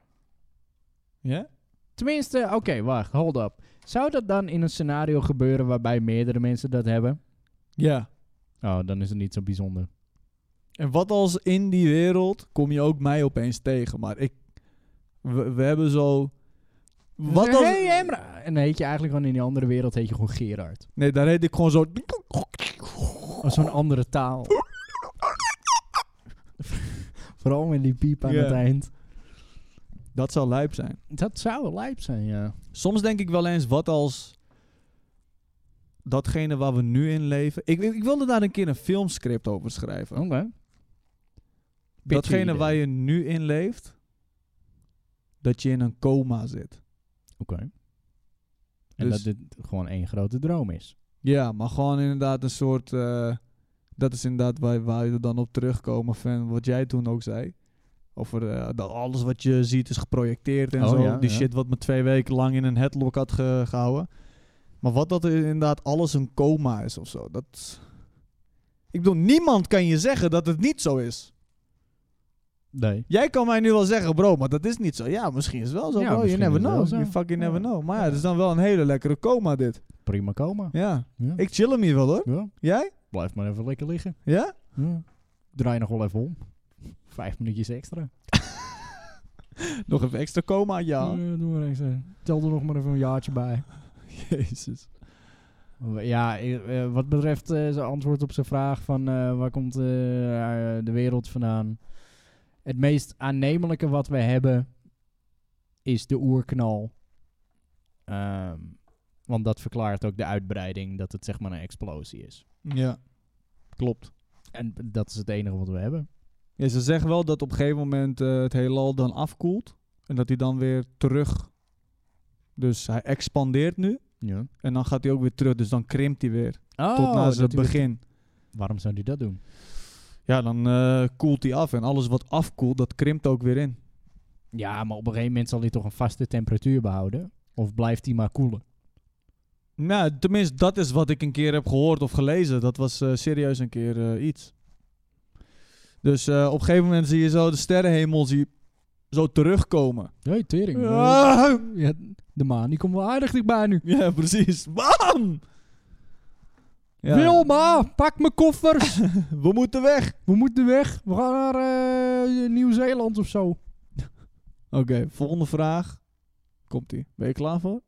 B: Ja?
A: Tenminste, oké, wacht, hold up. Zou dat dan in een scenario gebeuren waarbij meerdere mensen dat hebben?
B: Ja.
A: Oh, dan is het niet zo bijzonder.
B: En wat als in die wereld kom je ook mij opeens tegen? Maar ik... We, we hebben zo... Wat als...
A: Dus Hey, Emra! En dan heet je eigenlijk gewoon in die andere wereld heet je gewoon Gerard.
B: Nee, daar heet ik gewoon zo...
A: Als zo'n andere taal. [laughs] Vooral met die piep aan
B: Ja.
A: het eind.
B: Dat zou lijp zijn.
A: Dat zou lijp zijn, ja.
B: Soms denk ik wel eens, wat als... Datgene waar we nu in leven... Ik, ik, ik wilde daar een keer een filmscript over schrijven.
A: Oké.
B: Datgene
A: idee.
B: waar je nu in leeft... Dat je in een coma zit.
A: Oké. En
B: Dus-
A: Dus- dat dit gewoon één grote droom is.
B: Ja, maar gewoon inderdaad een soort... eh, dat is inderdaad waar, waar we dan op terugkomen van wat jij toen ook zei. Over eh, dat alles wat je ziet is geprojecteerd en
A: Oh,
B: zo.
A: ja,
B: Die
A: ja.
B: shit wat me twee weken lang in een headlock had ge- gehouden. Maar wat dat er inderdaad alles een coma is of zo. Dat... Ik bedoel, niemand kan je zeggen dat het niet zo is.
A: Nee.
B: Jij kan mij nu wel zeggen, bro, maar dat is niet zo. Ja, misschien is het wel zo,
A: Ja,
B: bro. You
A: misschien
B: never
A: is het
B: know.
A: wel
B: You
A: zo.
B: fucking never
A: Ja.
B: know. Maar ja, het is dan wel een hele lekkere coma dit.
A: Prima komen.
B: Ja.
A: Ja.
B: Ik chill hem hier wel, hoor.
A: Ja,
B: Jij?
A: Blijf maar even lekker liggen.
B: Ja?
A: Ja. Draai nog wel even om. Vijf minuutjes extra.
B: Nog even extra coma, ja.
A: Eh, doe maar extra. Tel er nog maar even een jaartje bij.
B: [laughs] Jezus.
A: Ja, eh, eh, wat betreft eh, zijn antwoord op zijn vraag van eh, waar komt eh, eh, de wereld vandaan? Het meest aannemelijke wat we hebben is de oerknal. Ehm, want dat verklaart ook de uitbreiding, dat het zeg maar een explosie is.
B: Ja. Klopt.
A: En dat is het enige wat we hebben.
B: Ja, ze zeggen wel dat op een gegeven moment eh, het heelal dan afkoelt. En dat hij dan weer terug... Dus hij expandeert nu.
A: Ja.
B: En dan gaat hij ook weer terug. Dus dan krimpt hij weer.
A: Oh,
B: tot na
A: dat
B: zijn
A: hij weer-
B: begin.
A: Waarom zou die dat doen?
B: Ja, dan eh, koelt hij af. En alles wat afkoelt, dat krimpt ook weer in.
A: Ja, maar op een gegeven moment zal hij toch een vaste temperatuur behouden? Of blijft hij maar koelen?
B: Nou, tenminste, dat is wat ik een keer heb gehoord of gelezen. Dat was eh, serieus een keer eh, iets. Dus eh, op een gegeven moment zie je zo de sterrenhemel zie je zo terugkomen.
A: Nee, tering.
B: Ah!
A: Ja, de maan, die komt wel aardig dichtbij nu.
B: [laughs] Ja, precies. Bam! Ja,
A: Wilma, pak mijn koffers.
B: we moeten weg.
A: We moeten weg. We gaan naar eh, Nieuw-Zeeland of zo.
B: Oké, volgende vraag. Komt-ie. Ben je klaar voor?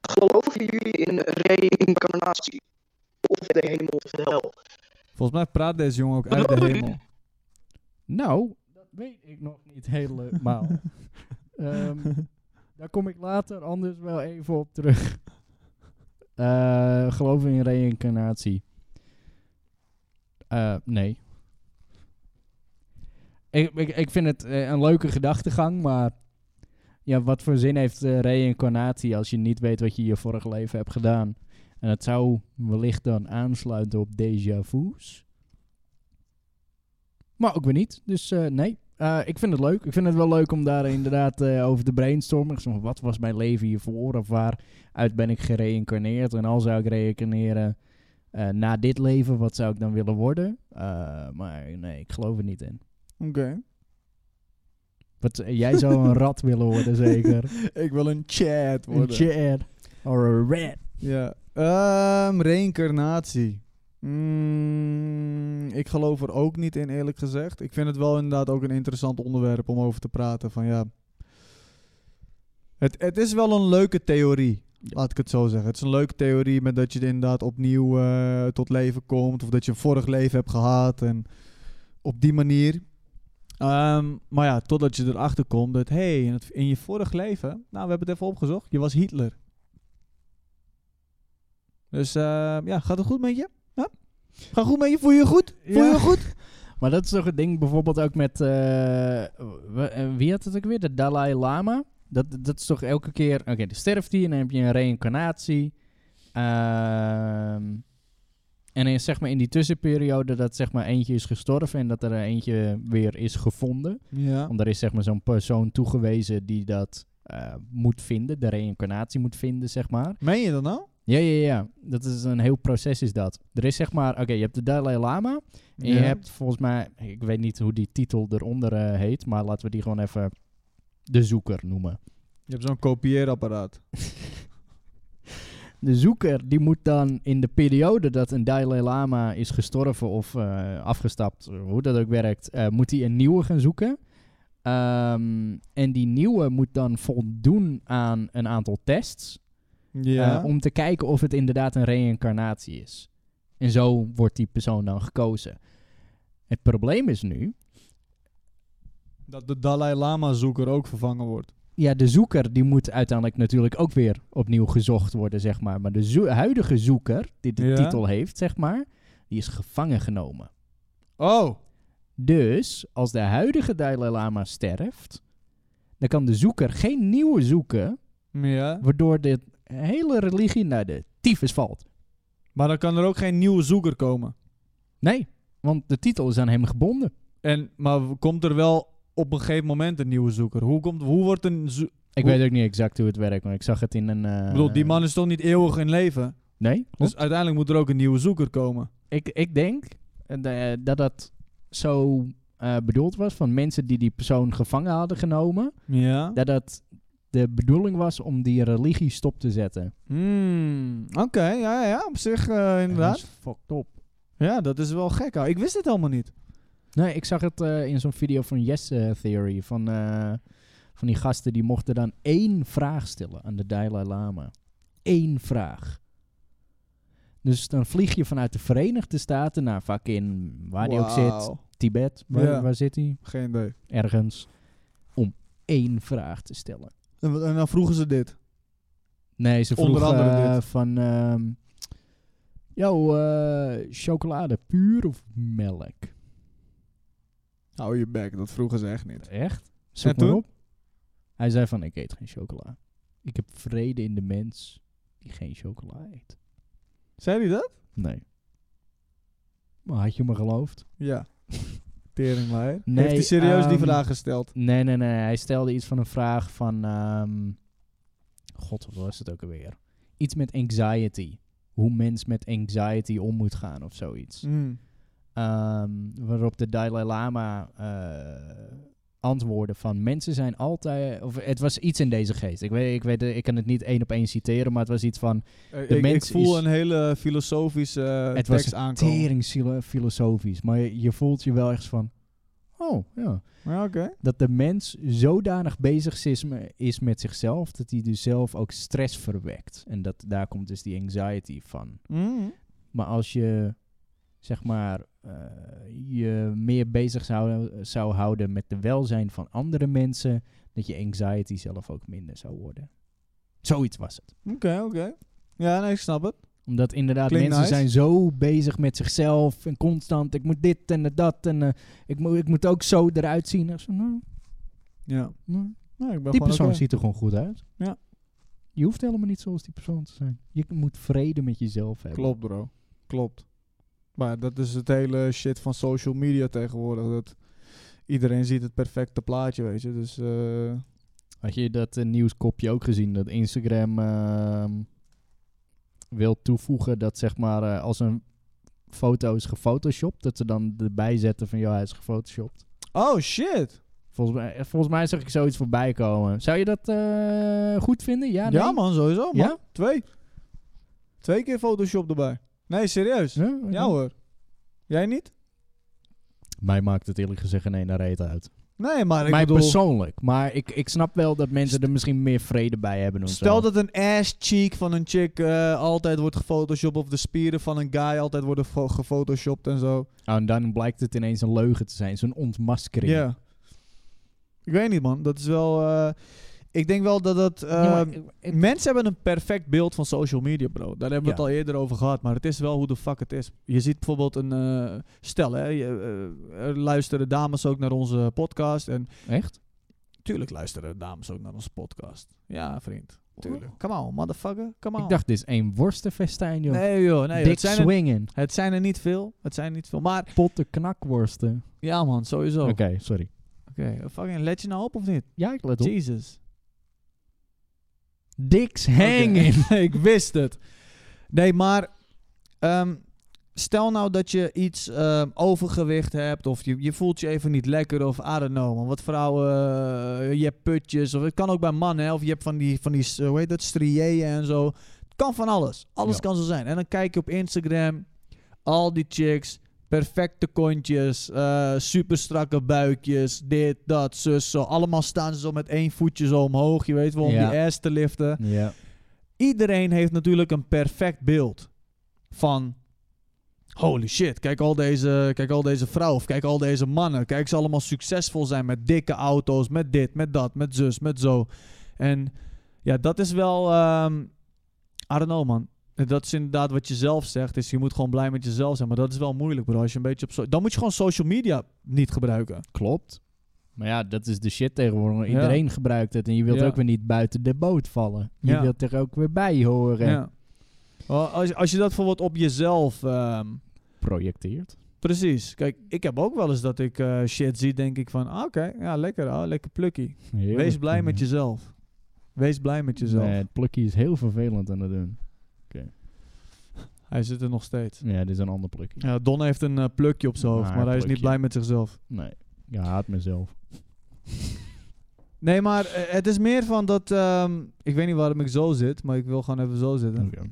G: Geloven jullie in reïncarnatie? Of de hemel of de hel?
B: Volgens mij praat deze jongen ook uit de hemel.
A: Nou, dat weet ik nog niet helemaal. Ehm, daar kom ik later anders wel even op terug. [laughs] Eh geloof in reïncarnatie? Eh, nee. Ik, ik, ik vind het eh, een leuke gedachtegang, maar ja, wat voor zin heeft eh, reïncarnatie als je niet weet wat je in je vorige leven hebt gedaan? En het zou wellicht dan aansluiten op déjà vu's. Maar ook weer niet. Dus eh, nee, Eh, ik vind het leuk. Ik vind het wel leuk om daar inderdaad eh, over te brainstormen. Zo van, wat was mijn leven hiervoor? Of waaruit ben ik gereïncarneerd? En al zou ik reïncarneren eh, na dit leven, wat zou ik dan willen worden? Eh, maar nee, ik geloof er niet in.
B: Oké.
A: Wat, eh, jij zou
B: [laughs]
A: een rat willen worden, zeker?
B: Ik wil een chat
A: Een
B: worden.
A: chair. Of een rat.
B: Ja. Ehm reïncarnatie. Mm, ik geloof er ook niet in, eerlijk gezegd. Ik vind het wel inderdaad ook een interessant onderwerp om over te praten. Van ja. Het, het is wel een leuke theorie, laat ik het zo zeggen. Het is een leuke theorie met dat je inderdaad opnieuw eh, tot leven komt. Of dat je een vorig leven hebt gehad. En op die manier. Ehm, maar ja, totdat je erachter komt dat, hé, hey, in, het- in je vorig leven, nou, we hebben het even opgezocht, je was Hitler. Dus eh, ja, gaat het goed met je? Ja? Gaat goed met je? Voel je je goed? Voel je
A: Ja.
B: je goed?
A: [laughs] Maar dat is toch het ding bijvoorbeeld ook met... eh, w- eh, wie had het ook weer? De Dalai Lama? Dat, dat is toch elke keer... Oké, dan sterft hij en dan heb je een reïncarnatie. Ehm, en in, zeg maar in die tussenperiode dat zeg maar eentje is gestorven... en dat er eentje weer is gevonden.
B: Ja.
A: Want er is zeg maar zo'n persoon toegewezen die dat eh, moet vinden. De reïncarnatie moet vinden, zeg maar.
B: Meen je dat nou?
A: Ja, ja, ja. Dat is een heel proces is dat. Er is zeg maar... Oké, je hebt de Dalai Lama... En je
B: Ja.
A: hebt volgens mij, ik weet niet hoe die titel eronder eh, heet, maar laten we die gewoon even de zoeker noemen.
B: Je hebt zo'n kopieerapparaat.
A: De zoeker die moet dan in de periode dat een Dalai Lama is gestorven of eh, afgestapt, hoe dat ook werkt, eh, moet hij een nieuwe gaan zoeken. Ehm, en die nieuwe moet dan voldoen aan een aantal tests.
B: Ja.
A: eh, om te kijken of het inderdaad een reïncarnatie is. En zo wordt die persoon dan gekozen. Het probleem is nu,
B: dat de Dalai Lama-zoeker ook vervangen wordt.
A: ja, de zoeker die moet uiteindelijk natuurlijk ook weer opnieuw gezocht worden, zeg maar. Maar de zo- huidige zoeker, die de
B: Ja.
A: titel heeft, zeg maar, die is gevangen genomen.
B: Oh!
A: Dus als de huidige Dalai Lama sterft, dan kan de zoeker geen nieuwe zoeken,
B: Ja.
A: waardoor de hele religie naar de tyfus valt.
B: Maar dan kan er ook geen nieuwe zoeker komen.
A: Nee, want de titel is aan hem gebonden.
B: En, maar w- komt er wel op een gegeven moment een nieuwe zoeker? Hoe, komt, hoe wordt een... zo-
A: Ik
B: Hoe-
A: weet ook niet exact hoe het werkt, maar ik zag het in een... eh,
B: ik bedoel, die man is toch niet eeuwig in leven?
A: Nee,
B: Dus uiteindelijk moet er ook een nieuwe zoeker komen.
A: ik, ik denk eh, dat dat zo eh, bedoeld was van mensen die die persoon gevangen hadden genomen.
B: Ja.
A: Dat dat de bedoeling was om die religie stop te zetten.
B: Hmm, Oké, ja, ja, op zich eh,
A: Dat
B: inderdaad.
A: is fucked up.
B: Ja, dat is wel gek. ouwe. Ik wist dit helemaal niet.
A: Nee, ik zag het eh, in zo'n video van Yes eh, Theory. Van, eh, van die gasten die mochten dan één vraag stellen aan de Dalai Lama. Eén vraag. Dus dan vlieg je vanuit de Verenigde Staten naar fucking waar die ook zit.
B: Wauw.
A: Tibet. Waar,
B: Ja.
A: waar zit hij?
B: Geen idee.
A: Ergens. Om één vraag te stellen.
B: En, wat- en dan vroegen ze dit.
A: Nee, ze vroeg
B: Onder andere
A: eh,
B: dit.
A: van... ehm Yo, eh, chocolade puur of melk?
B: Hou je bek, dat vroegen ze echt niet.
A: Echt? Zoek
B: En
A: maar
B: toen?
A: op. Hij zei van, ik eet geen chocola. Ik heb vrede in de mens die geen chocola eet.
B: Zei hij dat?
A: Nee. Maar had je me geloofd?
B: [laughs] Ja. Teringlaaier.
A: Nee,
B: Heeft hij serieus die
A: ehm,
B: vraag gesteld?
A: Nee, nee, nee. Hij stelde iets van een vraag van... ehm, God, wat was het ook alweer? Iets met anxiety. Hoe mens met anxiety om moet gaan of zoiets.
B: Hmm.
A: Ehm, waarop de Dalai Lama eh, antwoordde van mensen zijn altijd... Of het was iets in deze geest. Ik, weet, ik, weet, ik kan het niet één op één citeren, maar het was iets van...
B: Eh,
A: de
B: ik, ik
A: mens
B: voel
A: is-
B: een hele filosofische eh,
A: het was
B: tekst aankomen.
A: tering ziel- filosofisch. Maar je, je voelt je wel echt van... Oh, ja.
B: Ja, oké.
A: Dat de mens zodanig bezig is, me- is met zichzelf... dat hij dus zelf ook stress verwekt. En dat, daar komt dus die anxiety van.
B: Hmm.
A: Maar als je, zeg maar, eh, je meer bezig zou, zou houden met de welzijn van andere mensen, dat je anxiety zelf ook minder zou worden. Zoiets was het.
B: Oké, oké. Ja, nee, ik snap het.
A: Omdat inderdaad
B: Klinkt
A: mensen
B: nice.
A: zijn zo bezig met zichzelf en constant, ik moet dit en dat en eh, ik, moet, ik moet ook zo eruit zien. En zo, nou,
B: Ja.
A: nou,
B: Nou, ik ben
A: Die
B: gewoon
A: persoon
B: oké.
A: ziet er gewoon goed uit.
B: Ja.
A: Je hoeft helemaal niet zoals die persoon te zijn. Je moet vrede met jezelf hebben.
B: Klopt, bro. Klopt. Maar dat is het hele shit van social media tegenwoordig. Dat iedereen ziet het perfecte plaatje, weet je. Dus eh,
A: Had je dat eh, nieuwskopje ook gezien? Dat Instagram ehm, wil toevoegen dat zeg maar eh, als een foto is gefotoshopt, dat ze dan erbij zetten van ja, hij is gefotoshopt.
B: Oh, shit.
A: Volgens mij, eh, volgens mij zag ik zoiets voorbij komen. Zou je dat eh, goed vinden? Ja,
B: Ja,
A: nee?
B: man, sowieso, man.
A: Ja?
B: Twee. Twee keer Photoshop erbij. Nee, serieus. Ja,
A: Ja, ja.
B: hoor. Jij niet?
A: Mij maakt het eerlijk gezegd geen ene reet uit.
B: Nee, maar ik
A: Mij
B: bedoel...
A: persoonlijk. Maar ik, ik snap wel dat mensen er misschien meer vrede bij hebben. of zo.
B: Stel dat een ass-cheek van een chick eh, altijd wordt gefotoshopt... of de spieren van een guy altijd worden fo- gefotoshopt en zo.
A: Oh, en dan blijkt het ineens een leugen te zijn. Zo'n ontmaskering.
B: Ja. Ik weet niet, man. Dat is wel... eh, ik denk wel dat dat...
A: Ja, maar,
B: eh,
A: eh, eh,
B: Mensen hebben een perfect beeld van social media, bro. Daar hebben we het
A: Ja.
B: al eerder over gehad. Maar het is wel hoe de fuck het is. Je ziet bijvoorbeeld een... eh, stel, hè. Je, eh, er luisteren dames ook naar onze podcast. En
A: Echt?
B: tuurlijk luisteren dames ook naar onze podcast. Ja, vriend. Tuurlijk.
A: Oh.
B: Come on, motherfucker. Come on.
A: Ik dacht, dit is één worstenfestijn, joh.
B: nee, joh. Nee, joh.
A: Dik
B: Het, zijn er,
A: swingen.
B: het zijn er niet veel. Het zijn er niet veel. Maar
A: Potten knakworsten.
B: ja, man. Sowieso.
A: Oké,
B: Oké.
A: sorry.
B: Fucking let je nou op of niet?
A: Ja, ik let op.
B: Jesus.
A: Dicks hanging.
B: Oké. [laughs] ik wist het. Nee, maar ehm, stel nou dat je iets ehm, overgewicht hebt of je, je voelt je even niet lekker of I don't know. Man. Wat vrouwen, eh, je hebt putjes of het kan ook bij mannen hè, of je hebt van die, van die eh, hoe heet dat, striëën en zo. Het kan van alles. Alles
A: Ja.
B: kan zo zijn. En dan kijk je op Instagram, al die chicks, perfecte kontjes, eh super strakke buikjes, dit, dat, zus, zo. Allemaal staan ze zo met één voetje zo omhoog, je weet wel, om
A: Ja.
B: die ass te liften
A: Ja.
B: iedereen heeft natuurlijk een perfect beeld van. Holy shit, kijk al, deze, kijk al deze vrouwen of kijk al deze mannen. Kijk ze allemaal succesvol zijn met dikke auto's, met dit, met dat, met zus, met zo. En ja, dat is wel, ehm I don't know man. Dat is inderdaad wat je zelf zegt, dus je moet gewoon blij met jezelf zijn. Maar dat is wel moeilijk bro, als je een beetje op... so- Dan moet je gewoon social media niet gebruiken.
A: Klopt. Maar ja, dat is de shit tegenwoordig.
B: Ja.
A: Iedereen gebruikt het. En je wilt
B: Ja.
A: ook weer niet buiten de boot vallen. Je
B: Ja.
A: wilt er ook weer bij horen.
B: Ja. Wel, Als, als je dat bijvoorbeeld op jezelf... ehm,
A: projecteert.
B: precies. Kijk, ik heb ook wel eens dat ik eh, shit zie, denk ik van... ah, Oké, ja, lekker. ah, lekker plukkie. Wees blij met jezelf. Wees blij met jezelf.
A: Nee, het plukje is heel vervelend aan het doen.
B: Hij zit er nog steeds.
A: Ja, dit is een ander plukje.
B: Ja, Don heeft een eh, plukje op zijn hoofd,
A: Ah,
B: maar hij is niet
A: plukje.
B: blij met zichzelf.
A: Nee, ik haat mezelf.
B: Nee, maar eh, het is meer van dat... ehm, ik weet niet waarom ik zo zit, maar ik wil gewoon even zo zitten.
A: Oké.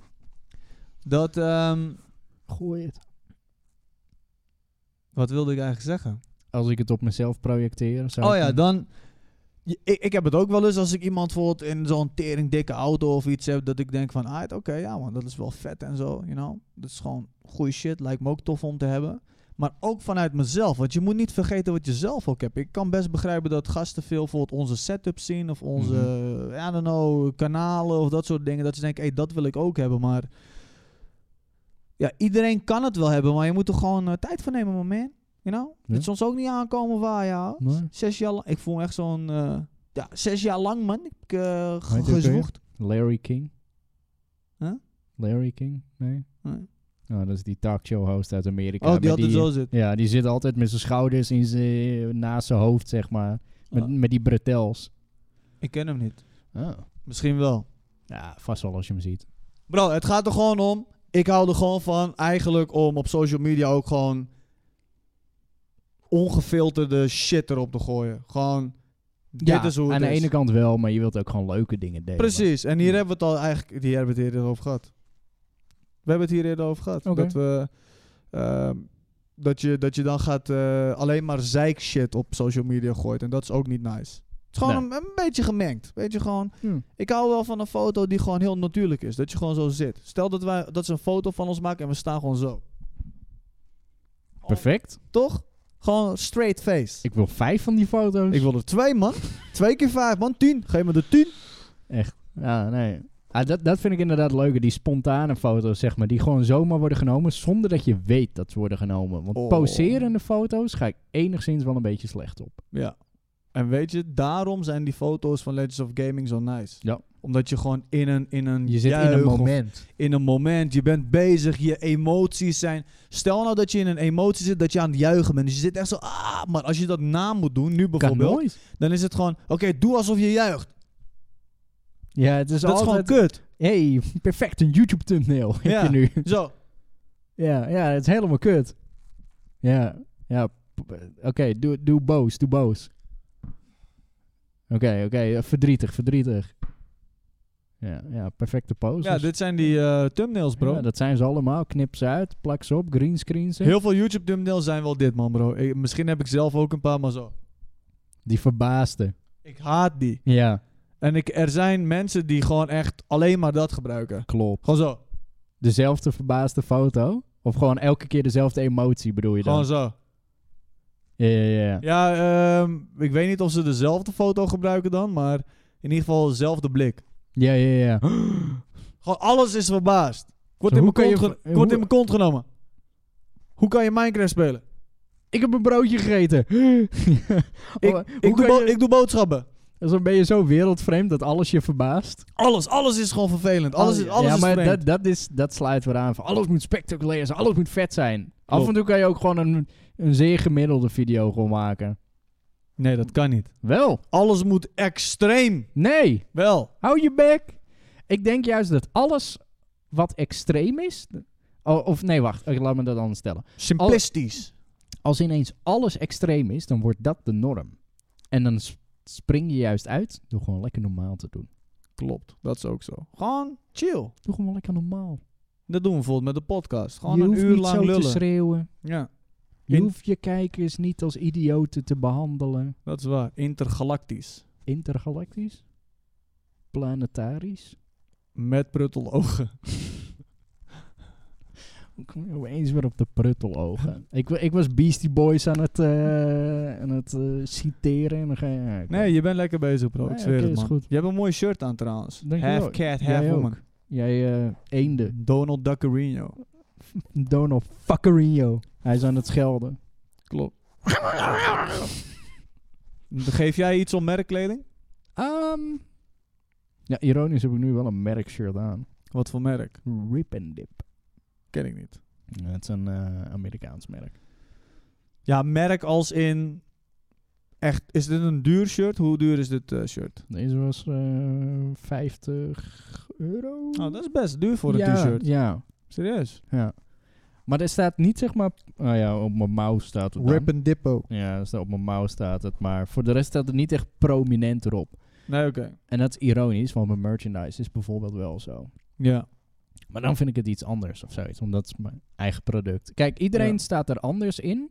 B: Dat... ehm,
A: Gooi het.
B: wat wilde ik eigenlijk zeggen?
A: Als ik het op mezelf projecteer, zou
B: Oh
A: ik
B: ja,
A: een-
B: dan... je- ik, ik heb het ook wel eens als ik iemand bijvoorbeeld in zo'n tering dikke auto of iets heb... dat ik denk van, ah, oké, ja man, dat is wel vet en zo, you know. Dat is gewoon goede shit, lijkt me ook tof om te hebben. Maar ook vanuit mezelf, want je moet niet vergeten wat je zelf ook hebt. Ik kan best begrijpen dat gasten veel bijvoorbeeld onze setup zien... of onze, eh, I don't know, kanalen of dat soort dingen. Dat je denkt, hé, hey, dat wil ik ook hebben, maar... Ja, iedereen kan het wel hebben, maar je moet er gewoon eh, tijd voor nemen, man, man. You know?
A: Ja.
B: Het is ons ook niet aankomen waar, ja.
A: Nee.
B: Zes jaar lang. Ik voel me echt zo'n. eh, ja, zes jaar lang, man. Ik heb eh, ge-
A: Weet je ook
B: gezwoegd.
A: Larry King.
B: Huh?
A: Larry King? Nee.
B: Nee.
A: Nou, dat is die talkshow host uit Amerika.
B: Oh,
A: met
B: die altijd zo zit.
A: Ja, die zit altijd met zijn schouders in zijn, naast zijn hoofd, zeg maar. Met,
B: Oh.
A: met die bretels.
B: Ik ken hem niet.
A: Oh.
B: Misschien wel.
A: Ja, vast wel als je hem ziet.
B: Bro, het gaat er gewoon om. Ik hou er gewoon van eigenlijk om op social media ook gewoon ongefilterde shit erop te gooien. Gewoon,
A: ja,
B: dit is hoe het
A: aan de
B: is.
A: ene kant wel, maar je wilt ook gewoon leuke dingen delen.
B: Precies, en hier hebben we het al eigenlijk hier hebben we het eerder over gehad. We hebben het hier eerder over gehad.
A: Oké.
B: Dat, we, ehm, dat, je, dat je dan gaat eh, alleen maar zeik shit op social media gooit. En dat is ook niet nice. Het is gewoon een, een beetje gemengd. Weet je gewoon.
A: Hmm.
B: Ik hou wel van een foto die gewoon heel natuurlijk is. Dat je gewoon zo zit. Stel dat, wij, dat ze een foto van ons maken en we staan gewoon zo.
A: Perfect.
B: Toch? Gewoon straight face. Ik,
A: Ik wil vijf van die foto's.
B: wil er twee, man. twee keer vijf, man. Tien. Geef me de tien.
A: Ja, nee. Ah, dat, dat vind ik inderdaad leuker, die spontane foto's, zeg maar. Die gewoon zomaar worden genomen zonder dat je weet dat ze worden genomen. Want
B: Oh.
A: poserende foto's ga ik enigszins wel een beetje slecht op.
B: Ja. En weet je, daarom zijn die foto's van Legends of Gaming zo nice.
A: Ja.
B: Omdat je gewoon in een in een
A: Je zit in
B: juich
A: een
B: of
A: moment.
B: in een moment, je bent bezig, je emoties zijn. Stel nou dat je in een emotie zit, dat je aan het juichen bent. Dus je zit echt zo, ah, maar als je dat na moet doen, nu
A: Kan
B: bijvoorbeeld,
A: nooit.
B: dan is het gewoon, oké, doe alsof je juicht.
A: Ja, het is
B: dat is gewoon
A: altijd...
B: kut.
A: hey, perfect, een YouTube thumbnail heb
B: Ja.
A: je nu.
B: Zo,
A: ja, ja, het is helemaal kut. Ja, ja. p- Oké, doe, doe boos, doe boos. Oké, oké, eh, verdrietig, verdrietig. Ja, ja, perfecte pose.
B: ja, dit zijn die eh, thumbnails, bro.
A: Ja, dat zijn ze allemaal. Knip ze uit, plak ze op, greenscreens.
B: Heel veel YouTube thumbnails zijn wel dit, man, bro. Ik- misschien heb ik zelf ook een paar, maar zo.
A: Die verbaasde.
B: Ik haat die.
A: Ja,
B: En ik, er zijn mensen die gewoon echt alleen maar dat gebruiken.
A: klopt.
B: Gewoon zo.
A: Dezelfde verbaasde foto? Of gewoon elke keer dezelfde emotie bedoel je
B: Gewoon
A: dan?
B: zo.
A: Ja, ja, ja.
B: Ja, ehm, ik weet niet of ze dezelfde foto gebruiken dan, maar in ieder geval dezelfde blik.
A: Ja, ja, ja.
B: Gewoon alles is verbaasd. Ik word,
A: Zo,
B: in
A: hoe
B: mijn, kont
A: kan je
B: ge-
A: v-
B: ik word
A: hoe-
B: in mijn kont genomen. Hoe kan je Minecraft spelen?
A: Oh, Ik heb een broodje [gasps] gegeten.
B: Ik,
A: Oh,
B: ik,
A: hoe
B: doe
A: kan
B: bo-
A: je-
B: ik doe boodschappen.
A: Dus dan ben je zo wereldvreemd dat alles je verbaast.
B: Alles, alles is gewoon vervelend. Alles, is, alles
A: Oh, ja,
B: is
A: maar
B: vreemd.
A: dat, dat, is, dat sluit weer aan. Van alles moet spectaculair zijn, alles moet vet zijn. Af en toe kan je ook gewoon een, een zeer gemiddelde video gewoon maken.
B: Nee, dat kan niet.
A: Wel?
B: Alles moet extreem.
A: Nee!
B: Wel.
A: Hou je bek! Ik denk juist dat alles wat extreem is... Oh, of nee, wacht. Ik laat me dat anders stellen.
B: Simplistisch.
A: Als ineens alles extreem is, dan wordt dat de norm. En dan s- spring je juist uit door gewoon lekker normaal te doen.
B: Klopt, dat is ook zo. Gewoon chill.
A: Doe gewoon lekker normaal.
B: Dat doen we bijvoorbeeld met de podcast. Gewoon
A: je
B: een
A: hoeft
B: uur
A: niet
B: lang
A: zo te
B: lullen.
A: schreeuwen.
B: Ja,
A: Je
B: In-
A: hoeft je kijkers niet als idioten te behandelen.
B: dat is waar. Intergalactisch.
A: Intergalactisch? Planetarisch?
B: Met pruttelogen.
A: Ik kom je opeens weer op de
B: [laughs]
A: pruttelogen. ik, wa- ik was Beastie Boys aan het, eh, aan het eh, citeren. En dan ga je, ja, ik-
B: Nee, je bent lekker bezig, bro.
A: Nee,
B: ik zweer
A: oké,
B: het,
A: is
B: man.
A: goed.
B: Je hebt een mooi shirt aan, trouwens.
A: Dankjewel.
B: half cat, half
A: Jij ook.
B: woman.
A: Jij eh eenden.
B: Donald Duckerino.
A: Donald Fuckerino. Hij is aan het schelden.
B: Klopt. Geef jij iets om merkkleding?
A: Ehm, ja, ironisch heb ik nu wel een merkshirt aan.
B: Wat voor merk?
A: Rip and Dip.
B: Ken ik niet.
A: Dat is een eh, Amerikaans merk.
B: Ja, merk als in... Echt, is dit een duur shirt? Hoe duur is dit eh, shirt?
A: Deze was eh 50 euro.
B: Nou, dat is best duur voor een
A: Ja,
B: t-shirt.
A: Ja,
B: Serieus.
A: ja. Maar er staat niet zeg maar... Oh ja, op mijn mouw staat het dan.
B: Rip and Dippo.
A: Ja, dus op mijn mouw staat het. Maar voor de rest staat het niet echt prominent erop.
B: Nee, oké.
A: En dat is ironisch, want mijn merchandise is bijvoorbeeld wel zo.
B: Ja.
A: Maar dan vind ik het iets anders of zoiets, omdat het is mijn eigen product. Kijk, iedereen
B: Ja.
A: staat er anders in.